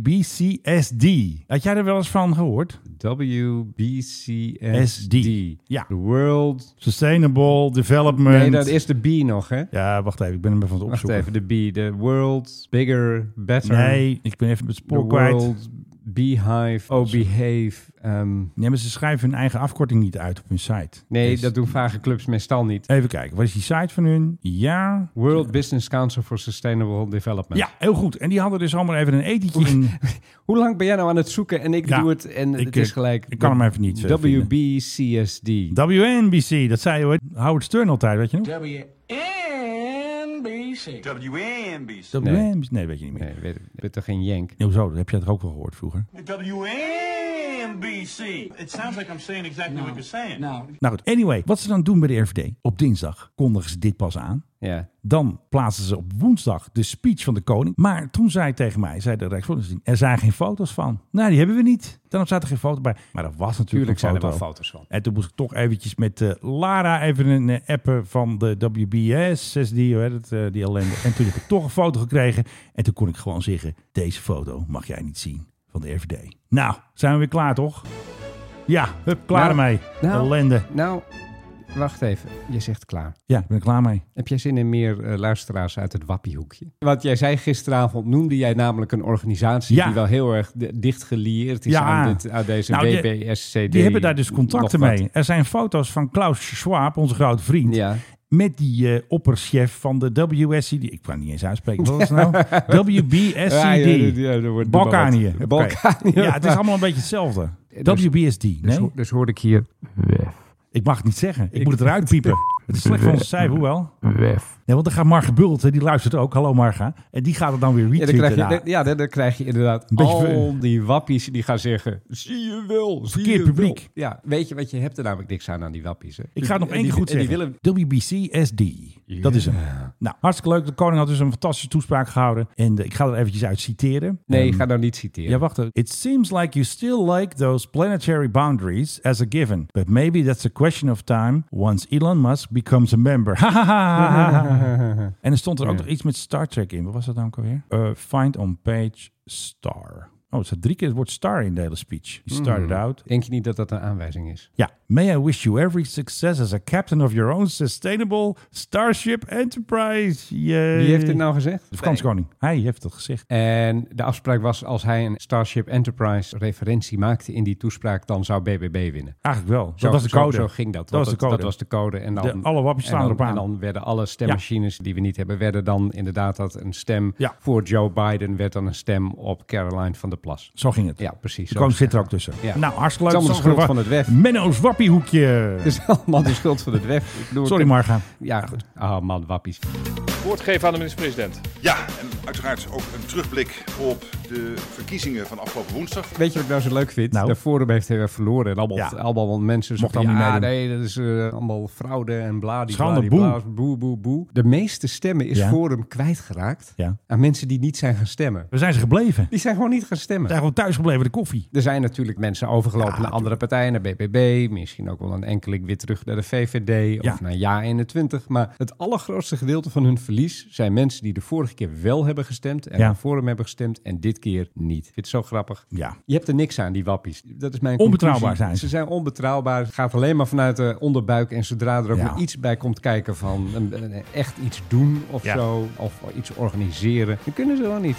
Speaker 4: WBCSD. Had jij er wel eens van gehoord?
Speaker 9: WBCSD.
Speaker 4: Ja.
Speaker 9: The World...
Speaker 4: Sustainable Development...
Speaker 9: Nee, dat is de B nog, hè?
Speaker 4: Ja, wacht even. Ik ben hem even aan het
Speaker 9: Wacht
Speaker 4: opzoeken.
Speaker 9: even, de B, de World Bigger Better.
Speaker 4: Nee, ik ben even het
Speaker 9: the
Speaker 4: spoor kwijt.
Speaker 9: World Beehive, Oh Behave. ehm,
Speaker 4: Nee, maar ze schrijven hun eigen afkorting niet uit op hun site.
Speaker 9: nee,
Speaker 4: Dus-
Speaker 9: dat doen vage clubs meestal niet.
Speaker 4: Even kijken, wat is die site van hun? Ja.
Speaker 9: World Business Council for Sustainable Development.
Speaker 4: Ja, heel goed. En die hadden dus allemaal even een etentje in.
Speaker 9: Hoe lang ben jij nou aan het zoeken en ik
Speaker 4: Ja,
Speaker 9: doe het en
Speaker 4: ik,
Speaker 9: het is
Speaker 4: eh,
Speaker 9: gelijk.
Speaker 4: ik kan hem even niet, eh, vinden.
Speaker 9: WBCSD.
Speaker 4: WNBC, dat zei ooit Howard Stern altijd, weet je nog?
Speaker 11: WNBC.
Speaker 3: WNBC.
Speaker 4: WNBC, nee, weet je niet meer.
Speaker 9: Nee, weet, weet toch geen jenk?
Speaker 4: Nee, Hoezo, dat heb jij toch ook wel gehoord vroeger?
Speaker 12: WNBC. It sounds like I'm saying exactly what you're saying. No.
Speaker 4: Nou goed, anyway, wat ze dan doen bij de RVD. Op dinsdag kondigen ze dit pas aan.
Speaker 9: Ja.
Speaker 4: Dan plaatsen ze op woensdag de speech van de koning. Maar toen zei tegen mij, zei de Rijksvoorlichting, er zijn geen foto's van. Nou, die hebben we niet. Dan staat er geen foto bij. Maar er was natuurlijk
Speaker 9: Tuurlijk
Speaker 4: een
Speaker 9: zijn er
Speaker 4: foto.
Speaker 9: wel foto's van.
Speaker 4: En toen moest ik toch eventjes met eh, Lara even een eh, appen van de WBS, 6D, hoe heet het, eh, die ellende. En toen heb ik toch een foto gekregen. En toen kon ik gewoon zeggen, deze foto mag jij niet zien van de RVD. Nou, zijn we weer klaar toch? Ja, hup, klaar
Speaker 9: Nou,
Speaker 4: ermee.
Speaker 9: nou.
Speaker 4: ellende.
Speaker 9: Nou, Wacht even, je zegt klaar.
Speaker 4: Ja, ik ben er klaar mee.
Speaker 9: Heb jij zin in meer eh, luisteraars uit het wappiehoekje? Want jij zei gisteravond, noemde jij namelijk een organisatie
Speaker 4: Ja.
Speaker 9: die wel heel erg de- dicht gelieerd is
Speaker 4: Ja.
Speaker 9: aan, dit, aan deze
Speaker 4: Nou, die-
Speaker 9: WBSCD.
Speaker 4: Die hebben daar dus contacten
Speaker 9: nog wat.
Speaker 4: mee. Er zijn foto's van Klaus Schwab, onze grote vriend. Met die eh, opperchef van de WSCD. Ik kan het niet eens uitspreken. Wat is het nou? WBSCD.
Speaker 9: Ja, eh, ja, ja, ja, er wordt-
Speaker 4: Balkanië.
Speaker 9: Oké.
Speaker 4: Balkanië. Ja, het is allemaal een beetje hetzelfde.
Speaker 9: Dus-
Speaker 4: WBSD.
Speaker 9: Dus,
Speaker 4: nee?
Speaker 9: ho- dus hoorde ik hier...
Speaker 4: Ik mag het niet zeggen. Ik, moet het eruit piepen. Het is slecht voor onze cijfer, hoewel. Nee, want dan gaat Marge Bult, hè, die luistert ook. Hallo Marga. En die gaat het dan weer
Speaker 9: Ja, dan
Speaker 4: retweeten.
Speaker 9: krijg je,
Speaker 4: daar.
Speaker 9: dan- ja, dan, dan krijg je inderdaad
Speaker 4: nou. Een beetje
Speaker 9: al die wappies die gaan zeggen... Zie je wel, zie
Speaker 4: Verkeerd
Speaker 9: je wel."
Speaker 4: publiek.
Speaker 9: Ja, weet je wat, je hebt er namelijk niks aan aan die wappies. Hè?
Speaker 4: Ik ga het nog
Speaker 9: En
Speaker 4: één keer
Speaker 9: die-
Speaker 4: goed
Speaker 9: en die
Speaker 4: zeggen.
Speaker 9: willen-
Speaker 4: WBCSD. Dat is hem. Nou, hartstikke leuk. De koning had dus een fantastische toespraak gehouden. En eh, ik ga er eventjes uit citeren.
Speaker 9: Nee,
Speaker 4: Ehm,
Speaker 9: ga nou niet citeren.
Speaker 4: Ja, wacht. even. It seems like you still like those planetary boundaries as a given. But maybe that's a question of time once Elon Musk becomes a member. en er stond er ook
Speaker 9: Ja.
Speaker 4: nog iets met Star Trek in. Wat was dat dan ook alweer? Eh, find on page star. Oh, er staat drie keer het woord star in de hele speech. He started
Speaker 9: Hmm.
Speaker 4: out.
Speaker 9: Denk je niet dat dat een aanwijzing is?
Speaker 4: Ja. May I wish you every success as a captain of your own sustainable Starship Enterprise. Yay.
Speaker 9: Wie heeft dit nou gezegd?
Speaker 4: De vakantiekoning. Hij heeft dat gezegd.
Speaker 9: En de afspraak was als hij een Starship Enterprise referentie maakte in die toespraak, dan zou BBB winnen.
Speaker 4: Eigenlijk wel. Dat
Speaker 9: Zo-
Speaker 4: was de
Speaker 9: zo-
Speaker 4: code.
Speaker 9: Zo, ging dat.
Speaker 4: Dat was
Speaker 9: Want
Speaker 4: de code.
Speaker 9: Dat was de code. En dan,
Speaker 4: De- alle wappies
Speaker 9: en
Speaker 4: staan
Speaker 9: dan-
Speaker 4: erop aan.
Speaker 9: En dan werden alle stemmachines die we niet hebben, werden dan inderdaad dat een stem
Speaker 4: Ja.
Speaker 9: voor Joe Biden, werd dan een stem op Caroline van der Plas.
Speaker 4: Zo ging het.
Speaker 9: Ja, precies. zo
Speaker 4: De koning
Speaker 9: is het.
Speaker 4: zit er ook tussen.
Speaker 9: Ja.
Speaker 4: Nou, hartstikke leuk.
Speaker 9: Het is allemaal de schuld van het web.
Speaker 4: Menno's wappiehoekje.
Speaker 9: Het is allemaal de schuld van het web. Ik bedoel,
Speaker 4: Sorry,
Speaker 9: ik-
Speaker 4: Marga.
Speaker 9: Ja, goed. Ah, man, wappies.
Speaker 3: Woord geven aan de minister-president. Ja, en uiteraard ook een terugblik op de verkiezingen van afgelopen woensdag.
Speaker 9: Weet je wat ik nou zo leuk vind?
Speaker 4: Nou?
Speaker 9: De Forum heeft heel erg verloren. En allemaal,
Speaker 4: Ja.
Speaker 9: allemaal mensen
Speaker 4: Mocht
Speaker 9: zeggen,
Speaker 4: allemaal
Speaker 9: ja,
Speaker 4: niet
Speaker 9: nee, dat is eh, allemaal fraude en bla, die
Speaker 4: Schande,
Speaker 9: bla, die bla, boe, boe, boe. De meeste stemmen is
Speaker 4: Ja.
Speaker 9: Forum kwijtgeraakt
Speaker 4: Ja.
Speaker 9: aan mensen die niet zijn gaan stemmen.
Speaker 4: We zijn ze gebleven. We
Speaker 9: Die zijn gewoon niet gaan stemmen.
Speaker 4: zijn gewoon thuis gebleven, de koffie.
Speaker 9: Er zijn natuurlijk mensen overgelopen naar andere partijen, naar BBB. Misschien ook wel een enkeling weer terug naar de VVD
Speaker 4: Ja.
Speaker 9: of naar JA21. Maar het allergrootste gedeelte van hun verlies zijn mensen die de vorige keer wel hebben gestemd en
Speaker 4: Ja.
Speaker 9: naar Forum hebben gestemd en dit keer niet. Ik vind het zo grappig.
Speaker 4: Ja.
Speaker 9: Je hebt er niks aan, die wappies. Dat is mijn
Speaker 4: Onbetrouwbaar
Speaker 9: conclusie.
Speaker 4: zijn ze.
Speaker 9: ze. zijn onbetrouwbaar. Het gaat alleen maar vanuit de onderbuik. En zodra er ook
Speaker 4: Ja.
Speaker 9: maar iets bij komt kijken van een- een- echt iets doen of
Speaker 4: Ja.
Speaker 9: zo, of iets organiseren, dan kunnen ze wel niet.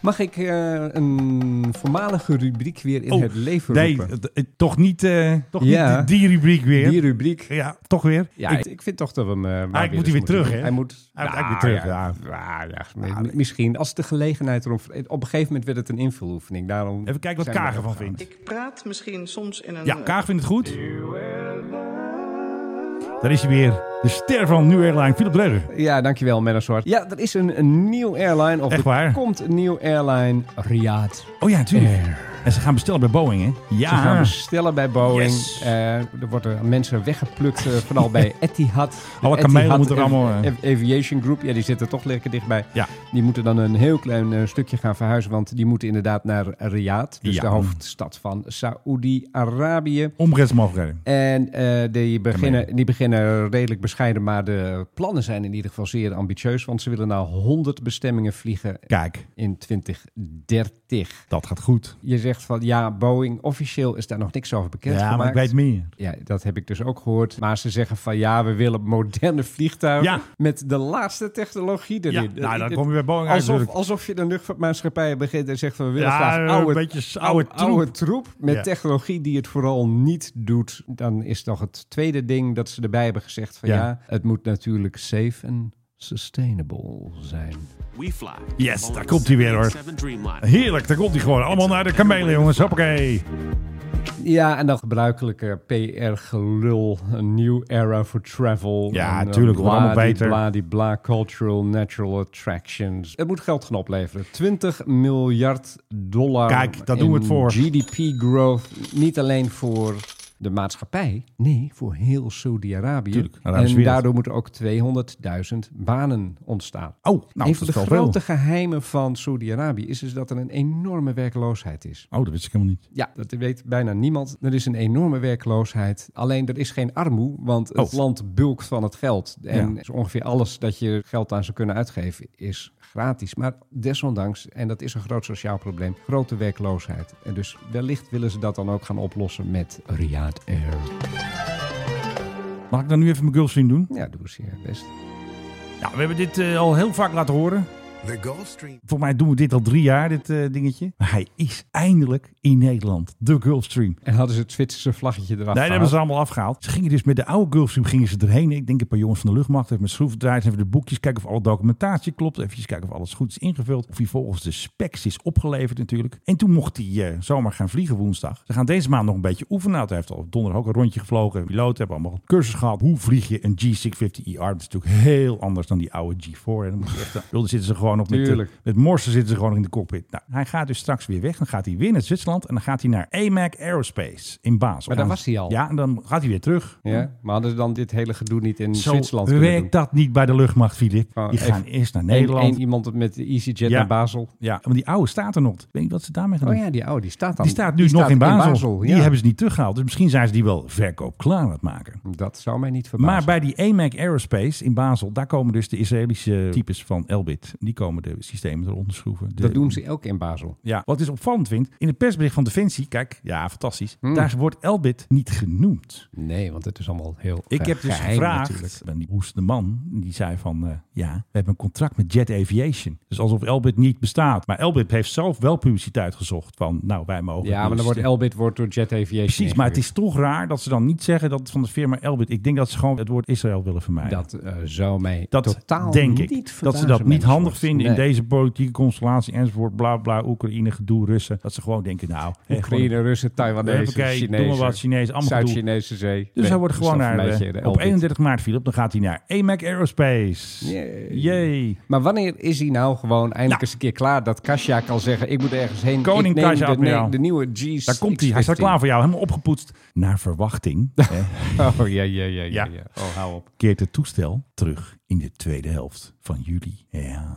Speaker 9: Mag ik eh, een voormalige rubriek weer in
Speaker 4: Oh,
Speaker 9: het leven
Speaker 4: Nee,
Speaker 9: roepen?
Speaker 4: d- eh, toch niet, eh, toch
Speaker 9: Ja.
Speaker 4: niet die, die rubriek weer.
Speaker 9: Die rubriek.
Speaker 4: Ja, toch weer.
Speaker 9: Ja,
Speaker 4: Ik- Ah,
Speaker 9: ik, ik vind toch dat we hem... eh, maar
Speaker 4: moet hij
Speaker 9: eens
Speaker 4: weer
Speaker 9: moeten
Speaker 4: terug,
Speaker 9: doen.
Speaker 4: hè?
Speaker 9: Hij moet...
Speaker 4: Hij moet
Speaker 9: Nou,
Speaker 4: eigenlijk weer terug,
Speaker 9: ja, ja, mi- misschien. Als de gelegenheid erom... Op een gegeven moment werd het een invuloefening. Daarom
Speaker 4: even kijken wat
Speaker 9: zijn we
Speaker 4: Kaag ervan
Speaker 9: erop
Speaker 4: vindt.
Speaker 7: Ik praat misschien soms in een...
Speaker 4: Ja, Kaag vindt het goed. Daar is hij weer. De ster van New Airline, Philip Dreuger.
Speaker 9: Ja, dankjewel, Menno Zwart. Ja, er is een, een nieuw airline. Of
Speaker 4: Echt
Speaker 9: er
Speaker 4: waar?
Speaker 9: komt een nieuw airline. Riyadh.
Speaker 4: Oh ja, natuurlijk. En ze gaan bestellen bij Boeing, hè? Ja.
Speaker 9: Ze gaan bestellen bij Boeing.
Speaker 4: Yes.
Speaker 9: Eh, er worden mensen weggeplukt, eh, vooral bij Etihad. De
Speaker 4: Alle kamelen
Speaker 9: Etihad
Speaker 4: moeten er
Speaker 9: Av-
Speaker 4: allemaal, eh.
Speaker 9: Av- Aviation Group, ja, die zitten toch lekker dichtbij.
Speaker 4: Ja.
Speaker 9: Die moeten dan een heel klein eh, stukje gaan verhuizen, want die moeten inderdaad naar Riyadh. Dus
Speaker 4: Ja.
Speaker 9: de hoofdstad van Saoedi-Arabië.
Speaker 4: Omgevingsmogelijkheden.
Speaker 9: En eh, die,
Speaker 4: Kamelen.
Speaker 9: beginnen, die beginnen redelijk bescheiden, maar de plannen zijn in ieder geval zeer ambitieus. Want ze willen naar 100 bestemmingen vliegen
Speaker 4: Kijk,
Speaker 9: in 2030.
Speaker 4: dat gaat goed.
Speaker 9: Je zegt van ja, Boeing, officieel is daar nog niks over bekend
Speaker 4: Ja, maar ik
Speaker 9: gemaakt.
Speaker 4: weet meer.
Speaker 9: Ja, dat heb ik dus ook gehoord. Maar ze zeggen van ja, we willen moderne vliegtuigen
Speaker 4: Ja.
Speaker 9: met de laatste technologie erin. Eh,
Speaker 4: Ja, nou, dan kom je bij Boeing uit
Speaker 9: alsof,
Speaker 4: natuurlijk.
Speaker 9: alsof je de luchtvaartmaatschappij begint en zegt van we willen
Speaker 4: Ja,
Speaker 9: graag
Speaker 4: een
Speaker 9: oude,
Speaker 4: beetje oude troep.
Speaker 9: troep met
Speaker 4: Ja.
Speaker 9: technologie die het vooral niet doet. Dan is nog het tweede ding dat ze erbij hebben gezegd van
Speaker 4: Ja.
Speaker 9: ja, het moet natuurlijk safe en sustainable zijn.
Speaker 13: We fly.
Speaker 4: Yes, daar komt hij weer, hoor.
Speaker 13: 787 Dreamliner.
Speaker 4: Heerlijk, daar komt hij gewoon. Allemaal naar de kamelen, jongens. Hoppakee.
Speaker 9: Ja, en dat gebruikelijke PR-gelul. Een new era for travel.
Speaker 4: Ja,
Speaker 9: En eh, dan
Speaker 4: tuurlijk, wordt allemaal
Speaker 9: bladibla,
Speaker 4: beter.
Speaker 9: bladibla, cultural, natural attractions. Het moet geld gaan opleveren. 20 miljard dollar.
Speaker 4: Kijk, daar doen we
Speaker 9: in
Speaker 4: het voor.
Speaker 9: GDP growth. Niet alleen voor de maatschappij. Nee, voor heel Saudi-Arabië.
Speaker 4: Tuurlijk, Arabische
Speaker 9: En
Speaker 4: wereld.
Speaker 9: daardoor moeten ook 200.000 banen ontstaan.
Speaker 4: Oh, nou,
Speaker 9: een
Speaker 4: dat
Speaker 9: van
Speaker 4: is
Speaker 9: de
Speaker 4: wel veel.
Speaker 9: grote geheimen van Saudi-Arabië is dus dat er een enorme werkloosheid is.
Speaker 4: Oh, dat wist ik helemaal niet.
Speaker 9: Ja, dat weet bijna niemand. Er is een enorme werkloosheid. Alleen er is geen armoe, want het
Speaker 4: Oh.
Speaker 9: land bulkt van het geld. En
Speaker 4: Ja.
Speaker 9: zo ongeveer alles dat je geld aan zou kunnen uitgeven is gratis. Maar desondanks, en dat is een groot sociaal probleem, grote werkloosheid. En dus wellicht willen ze dat dan ook gaan oplossen met Riyadh Air.
Speaker 4: Mag ik dan nu even mijn girlfriend doen?
Speaker 9: Ja, doe eens. Ja, best.
Speaker 4: Nou, we hebben dit eh, al heel vaak laten horen.
Speaker 13: The Gulf Stream.
Speaker 4: Volgens mij doen we dit al drie jaar, dit eh, dingetje. Maar hij is eindelijk in Nederland. De Gulfstream.
Speaker 9: En hadden ze het Zwitserse vlaggetje eraf
Speaker 4: Nee, dat hebben
Speaker 9: gehaald?
Speaker 4: ze allemaal afgehaald. Ze gingen dus met de oude Gulfstream gingen ze erheen. Ik denk een paar jongens van de luchtmacht even met schroevendraaiers, even de boekjes kijken of alle documentatie klopt, even kijken of alles goed is ingevuld, of hij volgens de specs is opgeleverd natuurlijk. En toen mocht hij eh, zomaar gaan vliegen woensdag. Ze gaan deze maand nog een beetje oefenen. Nou, hij heeft al donderdag ook een rondje gevlogen. Piloten hebben allemaal cursus gehad. Hoe vlieg je een G650ER? E Dat is natuurlijk heel anders dan die oude G4. En dan moet je echt, eh, dan zitten ze gewoon op met, de,
Speaker 9: Tuurlijk.
Speaker 4: met morsen zitten ze gewoon nog in de cockpit. Nou, hij gaat dus straks weer weg. Dan gaat hij weer naar Zwitserland en dan gaat hij naar AMAC Aerospace in Basel.
Speaker 9: Maar daar
Speaker 4: En-
Speaker 9: was hij al.
Speaker 4: Ja, en dan gaat hij weer terug.
Speaker 9: Ja, maar hadden ze dan dit hele gedoe niet in
Speaker 4: Zo
Speaker 9: Zwitserland kunnen doen?
Speaker 4: werkt dat niet bij de luchtmacht, Filip.
Speaker 9: Gewoon
Speaker 4: Die gaan
Speaker 9: even
Speaker 4: eerst naar
Speaker 9: één-
Speaker 4: Nederland.
Speaker 9: één iemand met de EasyJet
Speaker 4: Ja.
Speaker 9: naar Basel.
Speaker 4: Ja, want die oude staat er nog. Ik weet niet wat ze daarmee gaan
Speaker 9: Oh
Speaker 4: doen.
Speaker 9: ja, die oude, die staat dan.
Speaker 4: Die staat nu nog in Basel. Die hebben ze niet teruggehaald. Dus misschien zijn ze die wel verkoopklaar aan het maken.
Speaker 9: Dat zou mij niet verbazen.
Speaker 4: Maar bij die AMAC Aerospace in Basel, daar komen dus de Israëlische types van Elbit. Die komen de systemen eronder schroeven. De-
Speaker 9: dat doen ze ook in Basel.
Speaker 4: Ja, wat ik dus opvallend vind, in het persbericht van Defensie, kijk, ja, fantastisch.
Speaker 9: Hmm.
Speaker 4: Daar wordt Elbit niet genoemd.
Speaker 9: Nee, want het is allemaal heel
Speaker 4: Ik heb dus
Speaker 9: geheim natuurlijk.
Speaker 4: gevraagd aan die hoestende man. Die zei van, eh, ja, we hebben een contract met Jet Aviation. Dus alsof Elbit niet bestaat. Maar Elbit heeft zelf wel publiciteit gezocht van, nou, wij mogen...
Speaker 9: Ja, maar dan wordt
Speaker 4: publiciteit-
Speaker 9: Elbit wordt door Jet Aviation.
Speaker 4: Precies, maar het
Speaker 9: ingehuurd.
Speaker 4: is toch raar dat ze dan niet zeggen dat het van de firma Elbit... Ik denk dat ze gewoon het woord Israël willen vermijden.
Speaker 9: Dat eh, zou mij
Speaker 4: Dat
Speaker 9: totaal
Speaker 4: denk ik.
Speaker 9: niet
Speaker 4: dat ze
Speaker 9: verbazen,
Speaker 4: dat niet
Speaker 9: mensen.
Speaker 4: handig vinden in
Speaker 9: Nee.
Speaker 4: deze politieke constellatie enzovoort. Bla bla, Oekraïne, gedoe, Russen. Dat ze gewoon denken, nou... hè,
Speaker 9: Oekraïne,
Speaker 4: gewoon-
Speaker 9: Russen, Taiwanese,
Speaker 4: Huppakee,
Speaker 9: Chinezen.
Speaker 4: Doe maar wat Chinees, allemaal gedoe.
Speaker 9: Zuid-Chinese zee.
Speaker 4: Dus
Speaker 9: Nee,
Speaker 4: hij wordt
Speaker 9: dus
Speaker 4: gewoon
Speaker 9: dat
Speaker 4: naar...
Speaker 9: een
Speaker 4: eh,
Speaker 9: beetje de
Speaker 4: op
Speaker 9: Elbit.
Speaker 4: 31 maart, Philip, dan gaat hij naar AMAC Aerospace.
Speaker 9: Yay.
Speaker 4: Yay.
Speaker 9: Maar wanneer is hij nou gewoon eindelijk eens een keer klaar dat Kasia kan zeggen: Ik moet ergens heen. ik
Speaker 4: Koning
Speaker 9: neem
Speaker 4: Kajsa
Speaker 9: de,
Speaker 4: Admiraal.
Speaker 9: nee, de nieuwe G's.
Speaker 4: Daar komt hij. Hij staat klaar voor jou. Helemaal opgepoetst. Naar verwachting
Speaker 9: Oh ja, ja, ja, ja. ja. Oh, hou op.
Speaker 4: keert het toestel terug in de tweede helft van juli. Ja.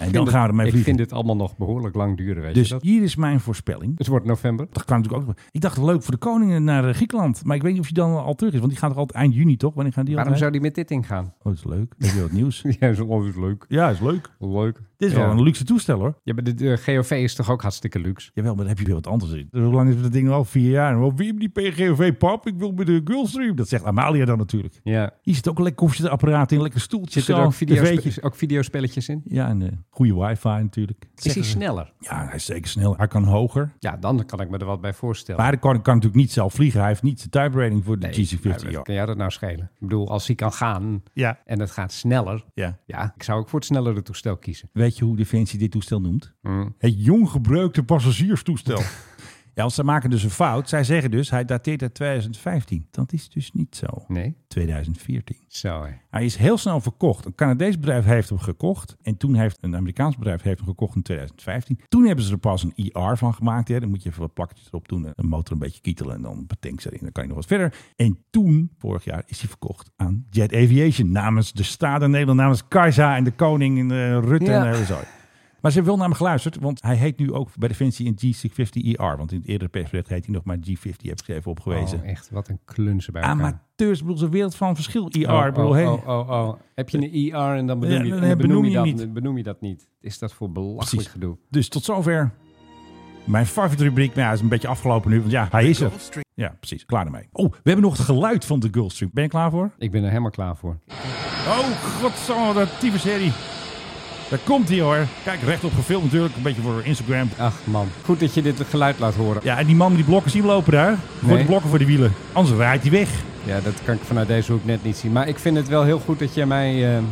Speaker 4: En
Speaker 9: Ik vind
Speaker 4: dan gaan we
Speaker 9: het-
Speaker 4: ermee
Speaker 9: Ik
Speaker 4: vliegen.
Speaker 9: vind dit allemaal nog behoorlijk lang duren. Weet je
Speaker 4: Dus
Speaker 9: dat?
Speaker 4: hier is mijn voorspelling.
Speaker 9: Het wordt november.
Speaker 4: Dat kan natuurlijk ook. Ik dacht leuk voor de koningen naar eh, Griekenland. Maar ik weet niet of hij dan al terug is. Want die gaat toch altijd eind juni toch? Wanneer gaan die
Speaker 9: Waarom
Speaker 4: altijd?
Speaker 9: zou die met dit ingaan?
Speaker 4: Oh, dat is leuk. Heb je wat nieuws?
Speaker 9: Ja, is altijd leuk.
Speaker 4: Ja, is leuk.
Speaker 9: Leuk.
Speaker 4: Dit is
Speaker 9: Ja.
Speaker 4: wel een luxe toestel hoor.
Speaker 9: Ja, maar de, de GOV is toch ook hartstikke luxe?
Speaker 4: Jawel, maar dan heb je weer wat anders in. Dus hoe lang is dat ding al? Vier jaar. En Wie die PGOV pap? Ik wil met de Gulfstream. Dat zegt Amalia dan natuurlijk.
Speaker 9: Ja.
Speaker 4: Hier zit ook een lekker koffiezetapparaat in. Lekker stoeltje.
Speaker 9: Zitten
Speaker 4: zo,
Speaker 9: er ook,
Speaker 4: tv'tjes.
Speaker 9: videospe- ook videospelletjes in?
Speaker 4: Ja, en eh, goede wifi natuurlijk.
Speaker 9: Is hij sneller?
Speaker 4: Ja, hij is zeker snel. Hij kan hoger.
Speaker 9: Ja, dan kan ik me er wat bij voorstellen.
Speaker 4: Maar hij kan, kan natuurlijk niet zelf vliegen. Hij heeft niet de type rating voor de
Speaker 9: Ja,
Speaker 4: GC50.
Speaker 9: wat
Speaker 4: Ja,
Speaker 9: kan jij dat nou schelen? Ik bedoel, als hij kan gaan
Speaker 4: Ja.
Speaker 9: en het gaat sneller,
Speaker 4: Ja.
Speaker 9: ja, ik zou ook voor het snellere toestel kiezen.
Speaker 4: Weet je hoe Defensie dit toestel noemt? Het jong gebruikte passagierstoestel. ja, want ze maken dus een fout. Zij zeggen dus, hij dateert uit 2015. Dat is dus niet zo.
Speaker 9: Nee?
Speaker 4: 2014.
Speaker 9: Zo, hè.
Speaker 4: Hij is heel snel verkocht. Een Canadees bedrijf heeft hem gekocht. En toen heeft een Amerikaans bedrijf heeft hem gekocht in 2015. Toen hebben ze er pas een IR van gemaakt. Hè. Dan moet je even wat plakjes erop doen. en Een motor een beetje kietelen en dan een paar tanks erin. Dan kan je nog wat verder. En toen, vorig jaar, is hij verkocht aan Jet Aviation. Namens de Staten Nederland, namens Kaiser en de koning en eh, Rutte
Speaker 9: Ja.
Speaker 4: en de hele zooi. Maar ze hebben wel naar hem geluisterd, want hij heet nu ook bij Defensie een G650ER. E Want in het eerdere persbericht heet hij nog maar G50, heb ik even opgewezen.
Speaker 9: Oh, echt, wat een klunzen bij elkaar.
Speaker 4: Amateurs, ik bedoel, ze wereld van verschil, ER.
Speaker 9: Oh,
Speaker 4: ik bedoel,
Speaker 9: oh,
Speaker 4: hey.
Speaker 9: oh, oh, oh. Heb je een IR en dan benoem
Speaker 4: Ja,
Speaker 9: je,
Speaker 4: dan
Speaker 9: en dan
Speaker 4: benoem
Speaker 9: benoem je
Speaker 4: je
Speaker 9: dat,
Speaker 4: niet.
Speaker 9: benoem je dat niet. Is dat voor belachelijk
Speaker 4: Precies.
Speaker 9: gedoe?
Speaker 4: Dus tot zover mijn favoriete rubriek. Nou, ja, is een beetje afgelopen nu, want ja, hij is er.
Speaker 13: Gulfstream.
Speaker 4: Ja, precies. Klaar ermee. Oh, we hebben nog het geluid van de Gulfstream. Ben je klaar voor?
Speaker 9: Ik ben er helemaal klaar voor.
Speaker 4: Oh, godsamme, dat tieve serie. Daar komt hij hoor. Kijk, rechtop gefilmd natuurlijk. Een beetje voor Instagram.
Speaker 9: Ach man, goed dat je dit geluid laat horen.
Speaker 4: Ja, en die man met die blokken zien lopen daar. Voor
Speaker 9: Nee.
Speaker 4: de blokken voor de wielen. Anders rijdt hij weg.
Speaker 9: Ja, dat kan ik vanuit deze hoek net niet zien. Maar ik vind het wel heel goed dat je mij, eh,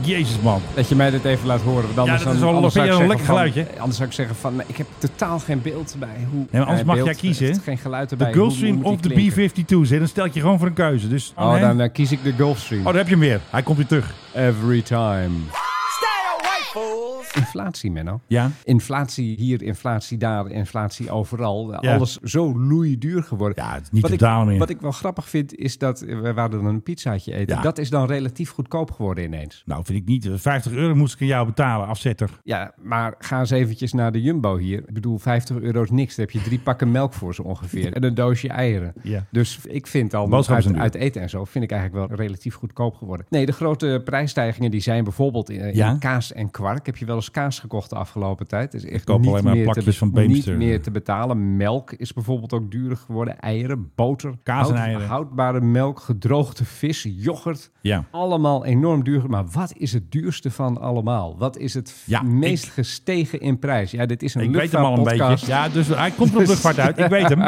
Speaker 4: Jezus man.
Speaker 9: dat je mij dit even laat horen. Want anders
Speaker 4: dat is
Speaker 9: dan,
Speaker 4: wel
Speaker 9: anders
Speaker 4: een-
Speaker 9: zou ik
Speaker 4: een
Speaker 9: zeggen
Speaker 4: lekker
Speaker 9: van-
Speaker 4: geluidje.
Speaker 9: Anders zou ik zeggen van, nee, ik heb totaal geen beeld bij. Hoe, nee,
Speaker 4: maar anders mag jij kiezen, hè?
Speaker 9: Geen geluid erbij.
Speaker 4: De
Speaker 9: Hoe- hoe
Speaker 4: Gulfstream
Speaker 9: moet die
Speaker 4: of de
Speaker 9: klinken?
Speaker 4: B-52's. hè? Dan stel ik je gewoon voor een keuze. Dus,
Speaker 9: Oh, dan eh, kies ik de Gulfstream.
Speaker 4: oh, daar heb je hem weer. Hij komt weer terug.
Speaker 9: Every time. Inflatie, Menno.
Speaker 4: Ja.
Speaker 9: Inflatie hier, inflatie daar, inflatie overal.
Speaker 4: Ja.
Speaker 9: Alles zo loeiduur geworden.
Speaker 4: Ja, het is niet
Speaker 9: wat
Speaker 4: te
Speaker 9: ik,
Speaker 4: betalen meer.
Speaker 9: Wat ik wel grappig vind, is dat eh, we waren dan een pizzaatje eten.
Speaker 4: Ja.
Speaker 9: Dat is dan relatief goedkoop geworden ineens.
Speaker 4: Nou, vind ik niet. 50 euro moest ik aan jou betalen, afzetter.
Speaker 9: Ja, maar ga eens eventjes naar de Jumbo hier. Ik bedoel, 50 euro is niks. Daar heb je drie pakken melk voor zo ongeveer. En een doosje eieren.
Speaker 4: Ja.
Speaker 9: Dus ik vind al
Speaker 4: Boodschappen
Speaker 9: uit,
Speaker 4: zijn
Speaker 9: uit eten en zo, vind ik eigenlijk wel relatief goedkoop geworden. Nee, de grote prijsstijgingen die zijn bijvoorbeeld in, in
Speaker 4: Ja.
Speaker 9: kaas en waar. Ik heb je wel eens kaas gekocht de afgelopen tijd. Het Is echt
Speaker 4: Ik koop
Speaker 9: niet
Speaker 4: alleen maar
Speaker 9: meer te
Speaker 4: plakjes
Speaker 9: be-
Speaker 4: van Beemster.
Speaker 9: Niet meer te betalen. Melk is bijvoorbeeld ook duurder geworden. Eieren, boter,
Speaker 4: Kaas en
Speaker 9: hout-
Speaker 4: eieren.
Speaker 9: houdbare melk, gedroogde vis, yoghurt.
Speaker 4: Ja.
Speaker 9: Allemaal enorm duur. Maar wat is het duurste van allemaal? Wat is het
Speaker 4: Ja,
Speaker 9: meest gestegen in prijs? Ja, dit is een
Speaker 4: Ik weet hem al een
Speaker 9: luchtvaartpodcast.
Speaker 4: beetje. Ja, dus hij komt er op
Speaker 9: Dus-
Speaker 4: luchtvaart uit. Ik weet hem.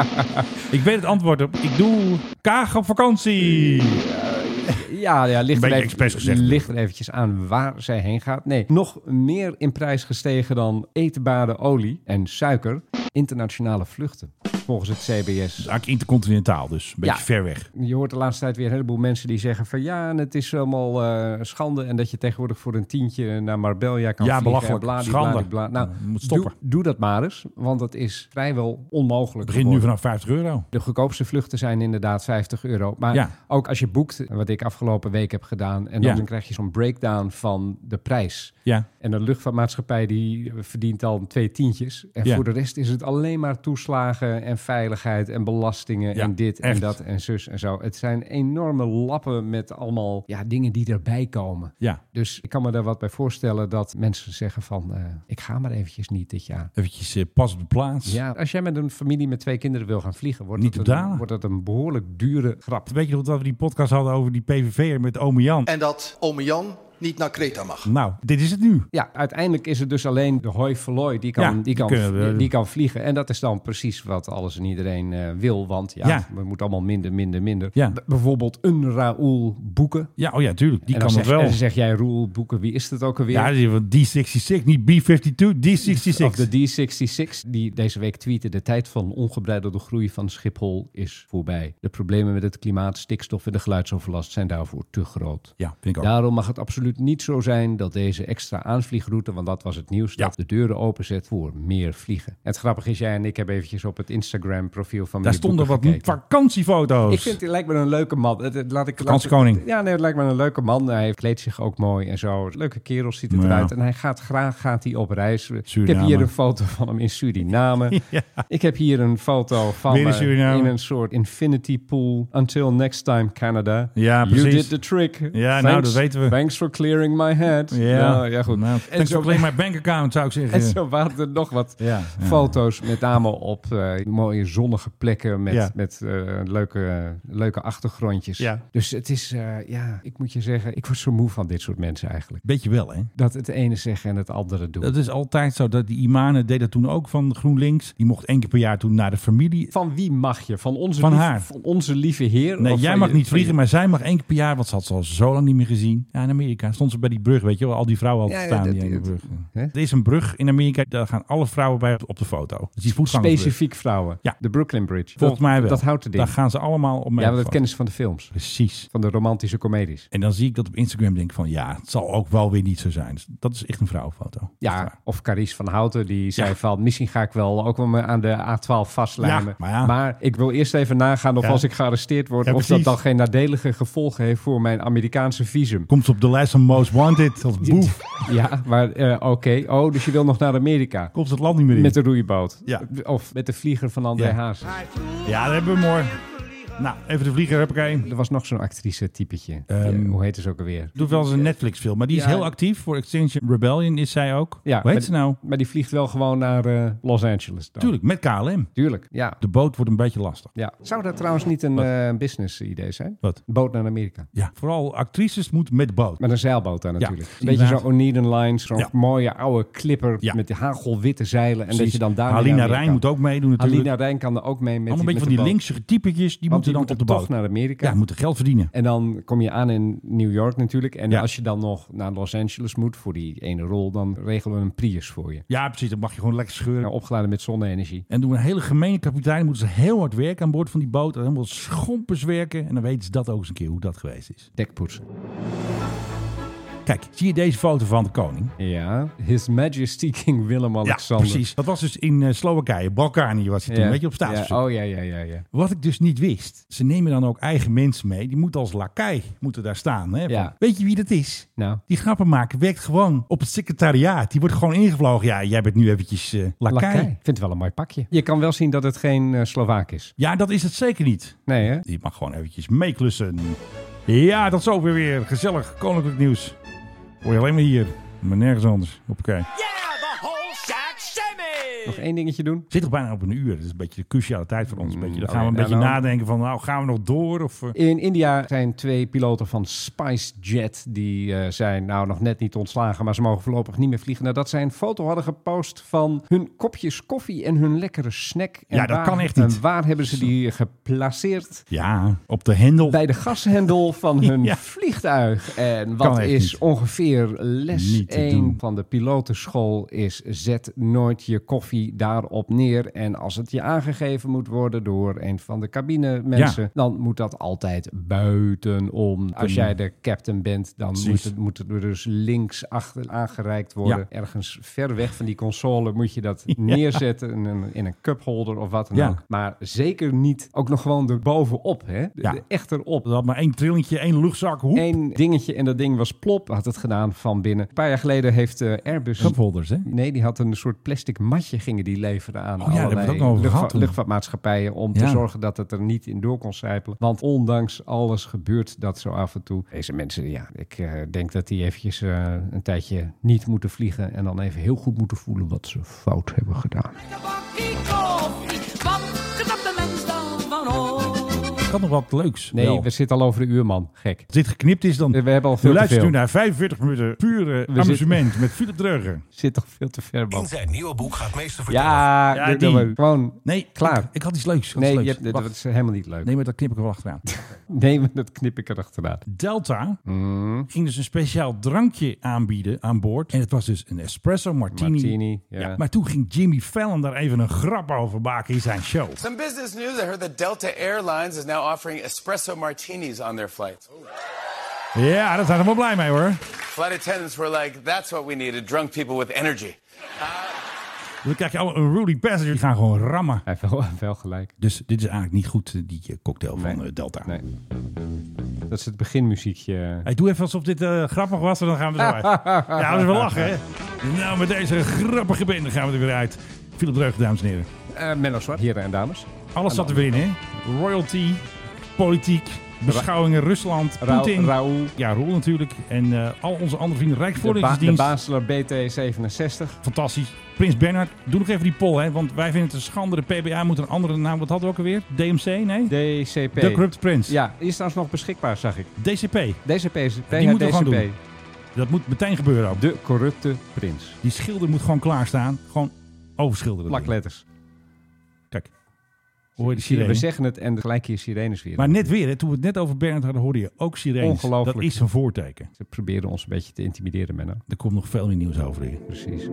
Speaker 4: Ik weet het antwoord op. Ik doe kaag op vakantie.
Speaker 9: Ja, ja ligt,
Speaker 4: Een
Speaker 9: er
Speaker 4: beetje
Speaker 9: even-
Speaker 4: expres gezegd.
Speaker 9: ligt er eventjes aan waar zij heen gaat. Nee, nog meer in prijs gestegen dan eetbare olie en suiker. Internationale vluchten, volgens het CBS.
Speaker 4: Eigenlijk intercontinentaal dus. Een beetje ver weg.
Speaker 9: Je hoort de laatste tijd weer een heleboel mensen die zeggen van... ja, en het is allemaal eh, schande... en dat je tegenwoordig voor een tientje naar Marbella kan
Speaker 4: Ja,
Speaker 9: vliegen.
Speaker 4: belachelijk.
Speaker 9: bladibla,
Speaker 4: Schande.
Speaker 9: dibla. Nou,
Speaker 4: Je moet stoppen.
Speaker 9: Doe, doe dat maar eens, want dat is vrijwel onmogelijk
Speaker 4: Begint nu
Speaker 9: geworden.
Speaker 4: vanaf 50 euro.
Speaker 9: De goedkoopste vluchten zijn inderdaad 50 euro. Maar
Speaker 4: Ja.
Speaker 9: ook als je boekt, wat ik afgelopen week heb gedaan, en dan
Speaker 4: Ja.
Speaker 9: krijg je zo'n breakdown van de prijs.
Speaker 4: Ja.
Speaker 9: En de luchtvaartmaatschappij die verdient dan twee tientjes. En
Speaker 4: Ja.
Speaker 9: voor de rest is het alleen maar toeslagen en veiligheid en belastingen
Speaker 4: Ja,
Speaker 9: en dit
Speaker 4: echt.
Speaker 9: en dat en zus en zo. Het zijn enorme lappen met allemaal ja, dingen die erbij komen.
Speaker 4: Ja.
Speaker 9: Dus ik kan me daar wat bij voorstellen dat mensen zeggen van eh, ik ga maar eventjes niet dit jaar.
Speaker 4: Eventjes eh, pas op de plaats.
Speaker 9: Ja, als jij met een familie met twee kinderen wil gaan vliegen, wordt,
Speaker 4: Niet
Speaker 9: dat,
Speaker 4: te
Speaker 9: een,
Speaker 4: betalen.
Speaker 9: wordt dat een behoorlijk dure grap.
Speaker 4: Weet je nog dat we die podcast hadden over die PVV'er met ome Jan?
Speaker 13: En dat ome Jan niet naar Kreta mag.
Speaker 4: Nou, dit is het nu.
Speaker 9: Ja, uiteindelijk is het dus alleen de hoi verlooi die kan,
Speaker 4: Ja,
Speaker 9: die,
Speaker 4: die
Speaker 9: kan,
Speaker 4: kunnen we-
Speaker 9: die kan vliegen. En dat is dan precies wat alles en iedereen eh, wil. Want ja,
Speaker 4: Ja.
Speaker 9: we moeten allemaal minder, minder, minder.
Speaker 4: Ja.
Speaker 9: B- bijvoorbeeld een Raoul boeken.
Speaker 4: Ja, oh ja, tuurlijk. Die
Speaker 9: en dan
Speaker 4: kan
Speaker 9: zeg,
Speaker 4: het wel.
Speaker 9: En dan zeg jij Raoul boeken, wie is dat ook alweer?
Speaker 4: Ja, die van D66, niet B52, D66.
Speaker 9: Of de D66, die deze week tweette... de tijd van ongebreidelde groei van Schiphol is voorbij. De problemen met het klimaat, stikstof en de geluidsoverlast... zijn daarvoor te groot.
Speaker 4: Ja, vind ik ook.
Speaker 9: Daarom mag het absoluut niet zo zijn dat deze extra aanvliegroute... want dat was het nieuws, dat de deuren openzet voor meer vliegen. Het grappige is, jij en ik hebben eventjes op het Instagram-profiel van...
Speaker 4: Daar
Speaker 9: meneer
Speaker 4: stonden
Speaker 9: Boeken
Speaker 4: wat
Speaker 9: gekeken.
Speaker 4: vakantiefoto's.
Speaker 9: Ik vind, het lijkt me een leuke man. Het- het- Laat ik,
Speaker 4: Vakantiekoning.
Speaker 9: ja, nee, het lijkt me een leuke man. Hij kleedt zich ook mooi en zo. Leuke kerel ziet het
Speaker 4: Ja.
Speaker 9: eruit. En hij gaat graag gaat hij op reis. Ik
Speaker 4: Suriname.
Speaker 9: heb hier een foto van hem in Suriname. Ik heb hier een foto van
Speaker 4: Weer in
Speaker 9: hem
Speaker 4: Suriname.
Speaker 9: in een soort infinity pool. Until next time, Canada.
Speaker 4: Ja,
Speaker 9: You
Speaker 4: precies.
Speaker 9: did the trick.
Speaker 4: nou, dat weten we.
Speaker 9: Thanks for clearing my head.
Speaker 4: Ja.
Speaker 9: Nou, ja goed.
Speaker 4: Nou,
Speaker 9: en
Speaker 4: thanks
Speaker 9: zo,
Speaker 4: for clearing my bank account, zou ik zeggen.
Speaker 9: en zo waren er nog wat
Speaker 4: Ja, ja.
Speaker 9: foto's, met name op eh, mooie zonnige plekken met,
Speaker 4: Ja.
Speaker 9: met eh, leuke, leuke achtergrondjes.
Speaker 4: Ja.
Speaker 9: Dus het is, eh, ja, ik moet je zeggen, ik word zo moe van dit soort mensen eigenlijk.
Speaker 4: Beetje wel, hè?
Speaker 9: Dat het ene zeggen en het andere doen.
Speaker 4: Dat is altijd zo. Dat die imanen deed dat toen ook van GroenLinks. Die mocht één keer per jaar toen naar de familie.
Speaker 9: Van wie mag je? Van onze,
Speaker 4: Van
Speaker 9: lief-
Speaker 4: haar.
Speaker 9: Van onze lieve heer?
Speaker 4: Nee,
Speaker 9: Of
Speaker 4: jij
Speaker 9: van
Speaker 4: mag
Speaker 9: je-
Speaker 4: niet
Speaker 9: van je-
Speaker 4: vliegen, maar zij mag één keer per jaar. Want ze had ze al zo lang niet meer gezien. Ja, in Amerika stond ze bij die brug, weet je wel. Al die vrouwen hadden
Speaker 9: Ja, ja,
Speaker 4: staan,
Speaker 9: dat-
Speaker 4: die ene
Speaker 9: dat-
Speaker 4: brug.
Speaker 9: hè?
Speaker 4: Er is een brug in Amerika, daar gaan alle vrouwen bij op- op de foto. Dat is die voetgangersbrug.
Speaker 9: Specifiek vrouwen.
Speaker 4: Ja.
Speaker 9: De Brooklyn Bridge.
Speaker 4: Volgens
Speaker 9: Dat-
Speaker 4: mij wel.
Speaker 9: Dat houdt het in.
Speaker 4: Daar gaan ze allemaal op mee.
Speaker 9: ja, maar dat kennen ze van de films.
Speaker 4: Precies.
Speaker 9: Van de romantische comedies.
Speaker 4: En dan zie ik dat op Instagram denk ik van ja, het zal ook wel weer niet zo zijn. Dus dat is echt een vrouwenfoto.
Speaker 9: Ja, of Carice van Houten, die zei van... misschien ga ik wel ook wel me aan de A12 vastlijmen.
Speaker 4: Ja, maar
Speaker 9: maar,
Speaker 4: ja.
Speaker 9: ik wil eerst even nagaan of
Speaker 4: Ja.
Speaker 9: als ik gearresteerd word...
Speaker 4: Ja,
Speaker 9: of dat
Speaker 4: precies.
Speaker 9: dan geen nadelige gevolgen heeft voor mijn Amerikaanse visum.
Speaker 4: Komt ze op de lijst van Most Wanted als boef.
Speaker 9: Ja, maar eh, oké. Oh, dus je wil nog naar Amerika.
Speaker 4: Komt ze het land niet meer in.
Speaker 9: Met de roeiboot.
Speaker 4: Ja.
Speaker 9: Of met de vlieger van André
Speaker 4: Ja.
Speaker 9: Haas.
Speaker 4: Ja, dat hebben we mooi. Nou, even de vlieger, heb ik een.
Speaker 9: Er was nog zo'n actrice typetje.
Speaker 4: Ehm,
Speaker 9: Die, hoe heet ze ook alweer?
Speaker 4: Doet wel eens een Netflix film, maar die is
Speaker 9: Ja.
Speaker 4: heel actief. Voor Extinction Rebellion is zij ook.
Speaker 9: Ja,
Speaker 4: Hoe heet
Speaker 9: maar-
Speaker 4: ze nou?
Speaker 9: Maar die vliegt wel gewoon naar eh, Los Angeles. dan.
Speaker 4: Tuurlijk, met KLM.
Speaker 9: Tuurlijk, ja.
Speaker 4: De boot wordt een beetje lastig.
Speaker 9: ja. Zou dat trouwens niet een eh, business idee zijn?
Speaker 4: Wat?
Speaker 9: Boot naar Amerika.
Speaker 4: Ja, vooral actrices moet met boot.
Speaker 9: Met een zeilboot daar natuurlijk. een beetje
Speaker 4: inderdaad.
Speaker 9: zo'n Oneiden Lines, zo'n
Speaker 4: Ja.
Speaker 9: mooie oude klipper
Speaker 4: Ja.
Speaker 9: met die hagelwitte zeilen. En dat je dan daar
Speaker 4: Halina Rijn moet ook meedoen natuurlijk.
Speaker 9: Halina Rijn kan er ook mee met
Speaker 4: Allemaal een beetje
Speaker 9: met
Speaker 4: van die
Speaker 9: de boot.
Speaker 4: linkse typetjes, die
Speaker 9: Want
Speaker 4: moeten dan
Speaker 9: die
Speaker 4: op de boot.
Speaker 9: toch naar Amerika.
Speaker 4: Ja, moeten geld verdienen.
Speaker 9: En dan kom je aan in New York natuurlijk. En
Speaker 4: Ja.
Speaker 9: als je dan nog naar Los Angeles moet voor die ene rol, dan regelen we een Prius voor je.
Speaker 4: Ja, precies. Dan mag je gewoon lekker scheuren.
Speaker 9: Nou, opgeladen met zonne-energie.
Speaker 4: En doen een hele gemene kapitein. Moeten ze heel hard werken aan boord van die boot. En helemaal schompers werken. En dan weten ze dat ook eens een keer hoe dat geweest is.
Speaker 9: Dekpoetsen.
Speaker 4: Kijk, zie je deze foto van de koning?
Speaker 9: Ja. His Majesty King Willem-Alexander.
Speaker 4: Ja, precies. Dat was dus in eh, Slowakije. Balkanië was hij toen.
Speaker 9: Ja.
Speaker 4: Weet je, op staatsbezoek.
Speaker 9: Ja. Oh ja, ja, ja, ja.
Speaker 4: Wat ik dus niet wist. Ze nemen dan ook eigen mensen mee. Die moeten als lakai moeten daar staan. Hè?
Speaker 9: Ja.
Speaker 4: Van, Weet je wie dat is?
Speaker 9: Nou.
Speaker 4: Die grappenmaker werkt gewoon op het secretariaat. Die wordt gewoon ingevlogen. Ja, jij bent nu eventjes eh lakai.
Speaker 9: Lakai. Ik vind het wel een mooi pakje. Je kan wel zien dat het geen eh, Slovaak is.
Speaker 4: Ja, dat is het zeker niet.
Speaker 9: Nee, hè?
Speaker 4: Die mag gewoon eventjes meeklussen. Ja, dat is ook weer weer gezellig koninklijk nieuws. Hoor je alleen maar hier. Maar nergens anders. Hoppakee.
Speaker 9: Nog één dingetje doen.
Speaker 4: Zit toch bijna op een uur. Dat is een beetje de cruciale tijd voor ons. Een beetje. Dan gaan we een
Speaker 9: nee,
Speaker 4: beetje
Speaker 9: nou, nou.
Speaker 4: nadenken van, nou, gaan we nog door? Of, eh,
Speaker 9: In India zijn twee piloten van SpiceJet. Die eh, zijn nou nog net niet ontslagen, maar ze mogen voorlopig niet meer vliegen. Nadat zij een foto hadden gepost van hun kopjes koffie en hun lekkere snack. En
Speaker 4: Ja, dat
Speaker 9: waar-
Speaker 4: kan echt niet.
Speaker 9: En waar hebben ze die geplaceerd?
Speaker 4: Ja, op de hendel.
Speaker 9: Bij de gashendel van hun
Speaker 4: Ja.
Speaker 9: vliegtuig. En
Speaker 4: Kan
Speaker 9: wat
Speaker 4: echt
Speaker 9: is
Speaker 4: niet.
Speaker 9: ongeveer les
Speaker 4: Niet te
Speaker 9: 1
Speaker 4: doen.
Speaker 9: van de pilotenschool is zet nooit je koffie daarop neer. En als het je aangegeven moet worden door een van de cabinemensen,
Speaker 4: Ja.
Speaker 9: dan moet dat altijd buitenom. Als jij de captain bent, dan
Speaker 4: Precies.
Speaker 9: moet het, moet het er dus links achter aangereikt worden. Ergens ver weg van die console moet je dat neerzetten in een, in een cupholder of wat dan
Speaker 4: Ja.
Speaker 9: ook. Maar zeker niet ook nog gewoon erbovenop. Hè? De-
Speaker 4: Ja.
Speaker 9: de- Echt erop.
Speaker 4: Dat had maar één trilletje, één luchtzak. Hoep.
Speaker 9: Eén dingetje en dat ding was plop, had het gedaan van binnen. Een paar jaar geleden heeft eh, Airbus...
Speaker 4: Cupholders, hè?
Speaker 9: Nee, die had een soort plastic matje gingen die leveren aan
Speaker 4: Oh ja, daar hebben we het
Speaker 9: allerlei
Speaker 4: ook nog over
Speaker 9: luchtva-
Speaker 4: gehad toen.
Speaker 9: luchtvaartmaatschappijen om te
Speaker 4: Ja.
Speaker 9: zorgen dat het er niet in door kon sijpelen. Want ondanks alles gebeurt dat zo af en toe. Deze mensen, ja, ik eh, denk dat die eventjes eh, een tijdje niet moeten vliegen en dan even heel goed moeten voelen wat ze fout hebben gedaan.
Speaker 14: Wat knapt de mens dan van ons?
Speaker 4: Kan nog wat leuks.
Speaker 9: Nee,
Speaker 4: wel.
Speaker 9: we zitten al over de uur, man. Gek.
Speaker 4: Als dit geknipt is, dan...
Speaker 9: We hebben al
Speaker 4: U
Speaker 9: veel te
Speaker 4: luistert nu
Speaker 9: veel.
Speaker 4: naar 45 minuten pure
Speaker 9: zitten-
Speaker 4: amusement met Philip Dreuger.
Speaker 9: Zit toch veel te ver, man.
Speaker 15: zijn nieuwe boek gaat meester
Speaker 9: Ja,
Speaker 4: Ja,
Speaker 9: dit
Speaker 4: die.
Speaker 9: nummer. gewoon
Speaker 4: Nee,
Speaker 9: klaar.
Speaker 4: Ik, ik had iets leuks. ik had
Speaker 9: nee,
Speaker 4: iets
Speaker 9: je
Speaker 4: leuks.
Speaker 9: hebt- dat
Speaker 4: Wacht.
Speaker 9: is helemaal niet leuk.
Speaker 4: Nee, maar dat knip ik er wel achteraan.
Speaker 9: Nee, maar dat knip ik erachteraan.
Speaker 4: Delta
Speaker 9: Mm.
Speaker 4: ging dus een speciaal drankje aanbieden aan boord. En het was dus een espresso martini.
Speaker 9: Martini, ja.
Speaker 4: maar toen ging Jimmy Fallon daar even een grap over maken in zijn show.
Speaker 16: Some business news. I heard that Delta Airlines is now offering espresso martinis on their flights.
Speaker 4: Ja, daar zijn we wel blij mee hoor.
Speaker 16: Flight attendants were like, that's what we needed drunk people with energy.
Speaker 4: Dan krijg je allemaal een Rudy Passenger. Die gaan gewoon rammen.
Speaker 9: Hij heeft wel, wel gelijk.
Speaker 4: Dus dit is eigenlijk niet goed, eh, die eh, cocktail van eh, Delta.
Speaker 9: Nee. Dat is het beginmuziekje.
Speaker 4: Hey, doe even alsof dit eh, grappig was en dan gaan we eruit. ja, dat is wel lachen hè. Nou, met deze grappige bende gaan we er weer uit. Philip Dreugen, dames en heren.
Speaker 9: Eh Menno Zwart, heren en dames.
Speaker 4: Alles zat er weer in, hè? Royalty, politiek, beschouwingen Rusland,
Speaker 9: Rau-
Speaker 4: Poetin.
Speaker 9: Raoul.
Speaker 4: Ja, Roel natuurlijk. En eh, al onze andere vrienden.
Speaker 9: De, ba de
Speaker 4: Rijksvoorlichtingsdienst.
Speaker 9: Basler BT67.
Speaker 4: Fantastisch. Prins Bernhard, doe nog even die poll, hè? Want wij vinden het een schande. De PBA moet een andere naam. Wat hadden we ook alweer? DMC? Nee?
Speaker 9: DCP.
Speaker 4: The Corrupt Prince.
Speaker 9: Ja, die is trouwens nog beschikbaar, zag ik.
Speaker 4: DCP.
Speaker 9: DCP is
Speaker 4: Die moeten we gewoon
Speaker 9: DCP.
Speaker 4: doen. Dat moet meteen gebeuren ook.
Speaker 9: De corrupte prins.
Speaker 4: Die schilder moet gewoon klaarstaan. Gewoon overschilderen.
Speaker 9: Plakletters.
Speaker 4: Kijk. Hoor je de
Speaker 9: We
Speaker 4: sirene?
Speaker 9: zeggen het en gelijk hier sirenes weer.
Speaker 4: Maar net weer, hè, toen we het net over Bernhard hadden, hoorde je ook sirenes.
Speaker 9: Ongelooflijk.
Speaker 4: Dat is een voorteken.
Speaker 9: Ze proberen ons een beetje te intimideren, Menno.
Speaker 4: Er komt nog veel meer nieuws over hier.
Speaker 9: Precies.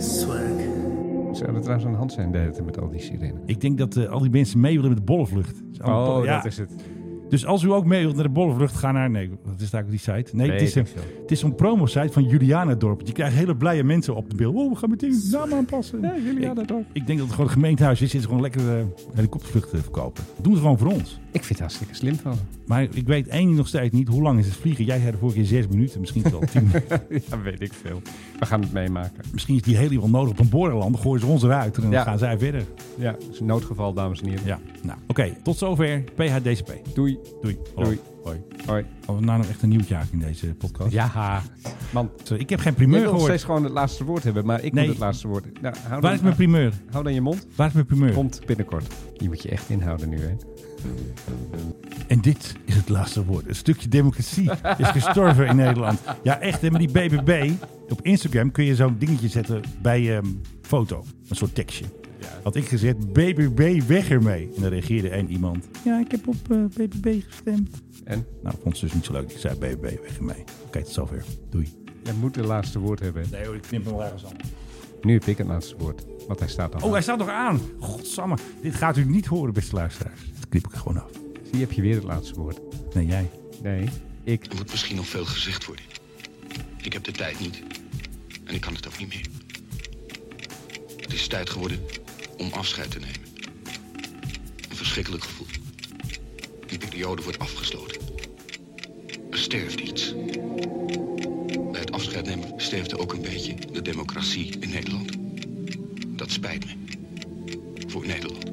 Speaker 9: Zou er trouwens aan de hand zijn de hele tijd met al die sirenes?
Speaker 4: Ik denk dat eh, al die mensen mee willen met de bollenvlucht. Dat is allemaal
Speaker 9: Oh,
Speaker 4: bo- ja.
Speaker 9: dat is het.
Speaker 4: Dus als u ook mee wilt naar de bollenvlucht, ga naar... Nee, wat is daar ook die site? Nee, het is, een,
Speaker 9: Weet ik veel.
Speaker 4: het is een promo-site van Julianadorp. Je krijgt hele blije mensen op de beeld. Oh, we gaan meteen de naam aanpassen.
Speaker 9: Julianadorp.
Speaker 4: Ik, ik denk dat het gewoon het gemeentehuis is. Dit is gewoon lekker eh, helikoptervluchten verkopen. Doen ze gewoon voor ons.
Speaker 9: Ik vind het hartstikke slim van ze.
Speaker 4: Maar ik weet één ding nog steeds niet. Hoe lang is het vliegen? Jij zei de vorige keer zes minuten. Misschien wel tien minuten.
Speaker 9: Ja, weet ik veel. We gaan het meemaken.
Speaker 4: Misschien is die heli wel nodig op een borderland. Dan gooien ze ons eruit en dan
Speaker 9: Ja.
Speaker 4: gaan zij verder.
Speaker 9: Ja, het is een noodgeval, dames en heren.
Speaker 4: Ja, nou, oké. tot zover PHDCP.
Speaker 9: Doei.
Speaker 4: Doei.
Speaker 9: Doei.
Speaker 4: Hoi.
Speaker 9: Hoi.
Speaker 4: Oh, nou nog echt een nieuwtje eigenlijk in deze podcast.
Speaker 9: Ja, man.
Speaker 4: Sorry, ik heb geen
Speaker 9: Je
Speaker 4: primeur
Speaker 9: wil nog
Speaker 4: gehoord.
Speaker 9: steeds gewoon het laatste woord hebben, maar ik
Speaker 4: Nee.
Speaker 9: moet het laatste woord. Nou, hou
Speaker 4: Waar
Speaker 9: dan-
Speaker 4: is mijn primeur?
Speaker 9: Hou dan je mond.
Speaker 4: Waar is mijn primeur?
Speaker 9: Komt binnenkort. Je moet je echt inhouden nu, hè?
Speaker 4: En dit is het laatste woord. Een stukje democratie is gestorven in Nederland. Ja, echt. hè, Maar die BBB. Op Instagram kun je zo'n dingetje zetten bij ehm foto. Een soort tekstje. Had ik gezet, BBB weg ermee. En dan reageerde één iemand. Ja, ik heb op eh, BBB gestemd.
Speaker 9: En?
Speaker 4: Nou, vond ze dus niet zo leuk. Ik zei BBB weg ermee. Oké, tot zover. Doei.
Speaker 9: Je moet het laatste woord hebben.
Speaker 4: Nee hoor, ik knip hem wel ergens aan.
Speaker 9: Nu heb ik het laatste woord, want hij staat al.
Speaker 4: Oh, hij staat nog aan. Godsamme. Dit gaat u niet horen, beste luisteraars. Dat knip ik er gewoon af.
Speaker 9: Zie, heb je weer het laatste woord.
Speaker 4: Nee, jij.
Speaker 9: Nee, ik.
Speaker 17: Er moet misschien nog veel gezegd worden. Ik heb de tijd niet. En ik kan het ook niet meer. Het is tijd geworden om afscheid te nemen. Een verschrikkelijk gevoel. Een periode wordt afgesloten. Er sterft iets. Bij het afscheid nemen sterfde ook een beetje de democratie in Nederland. Dat spijt me. Voor Nederland.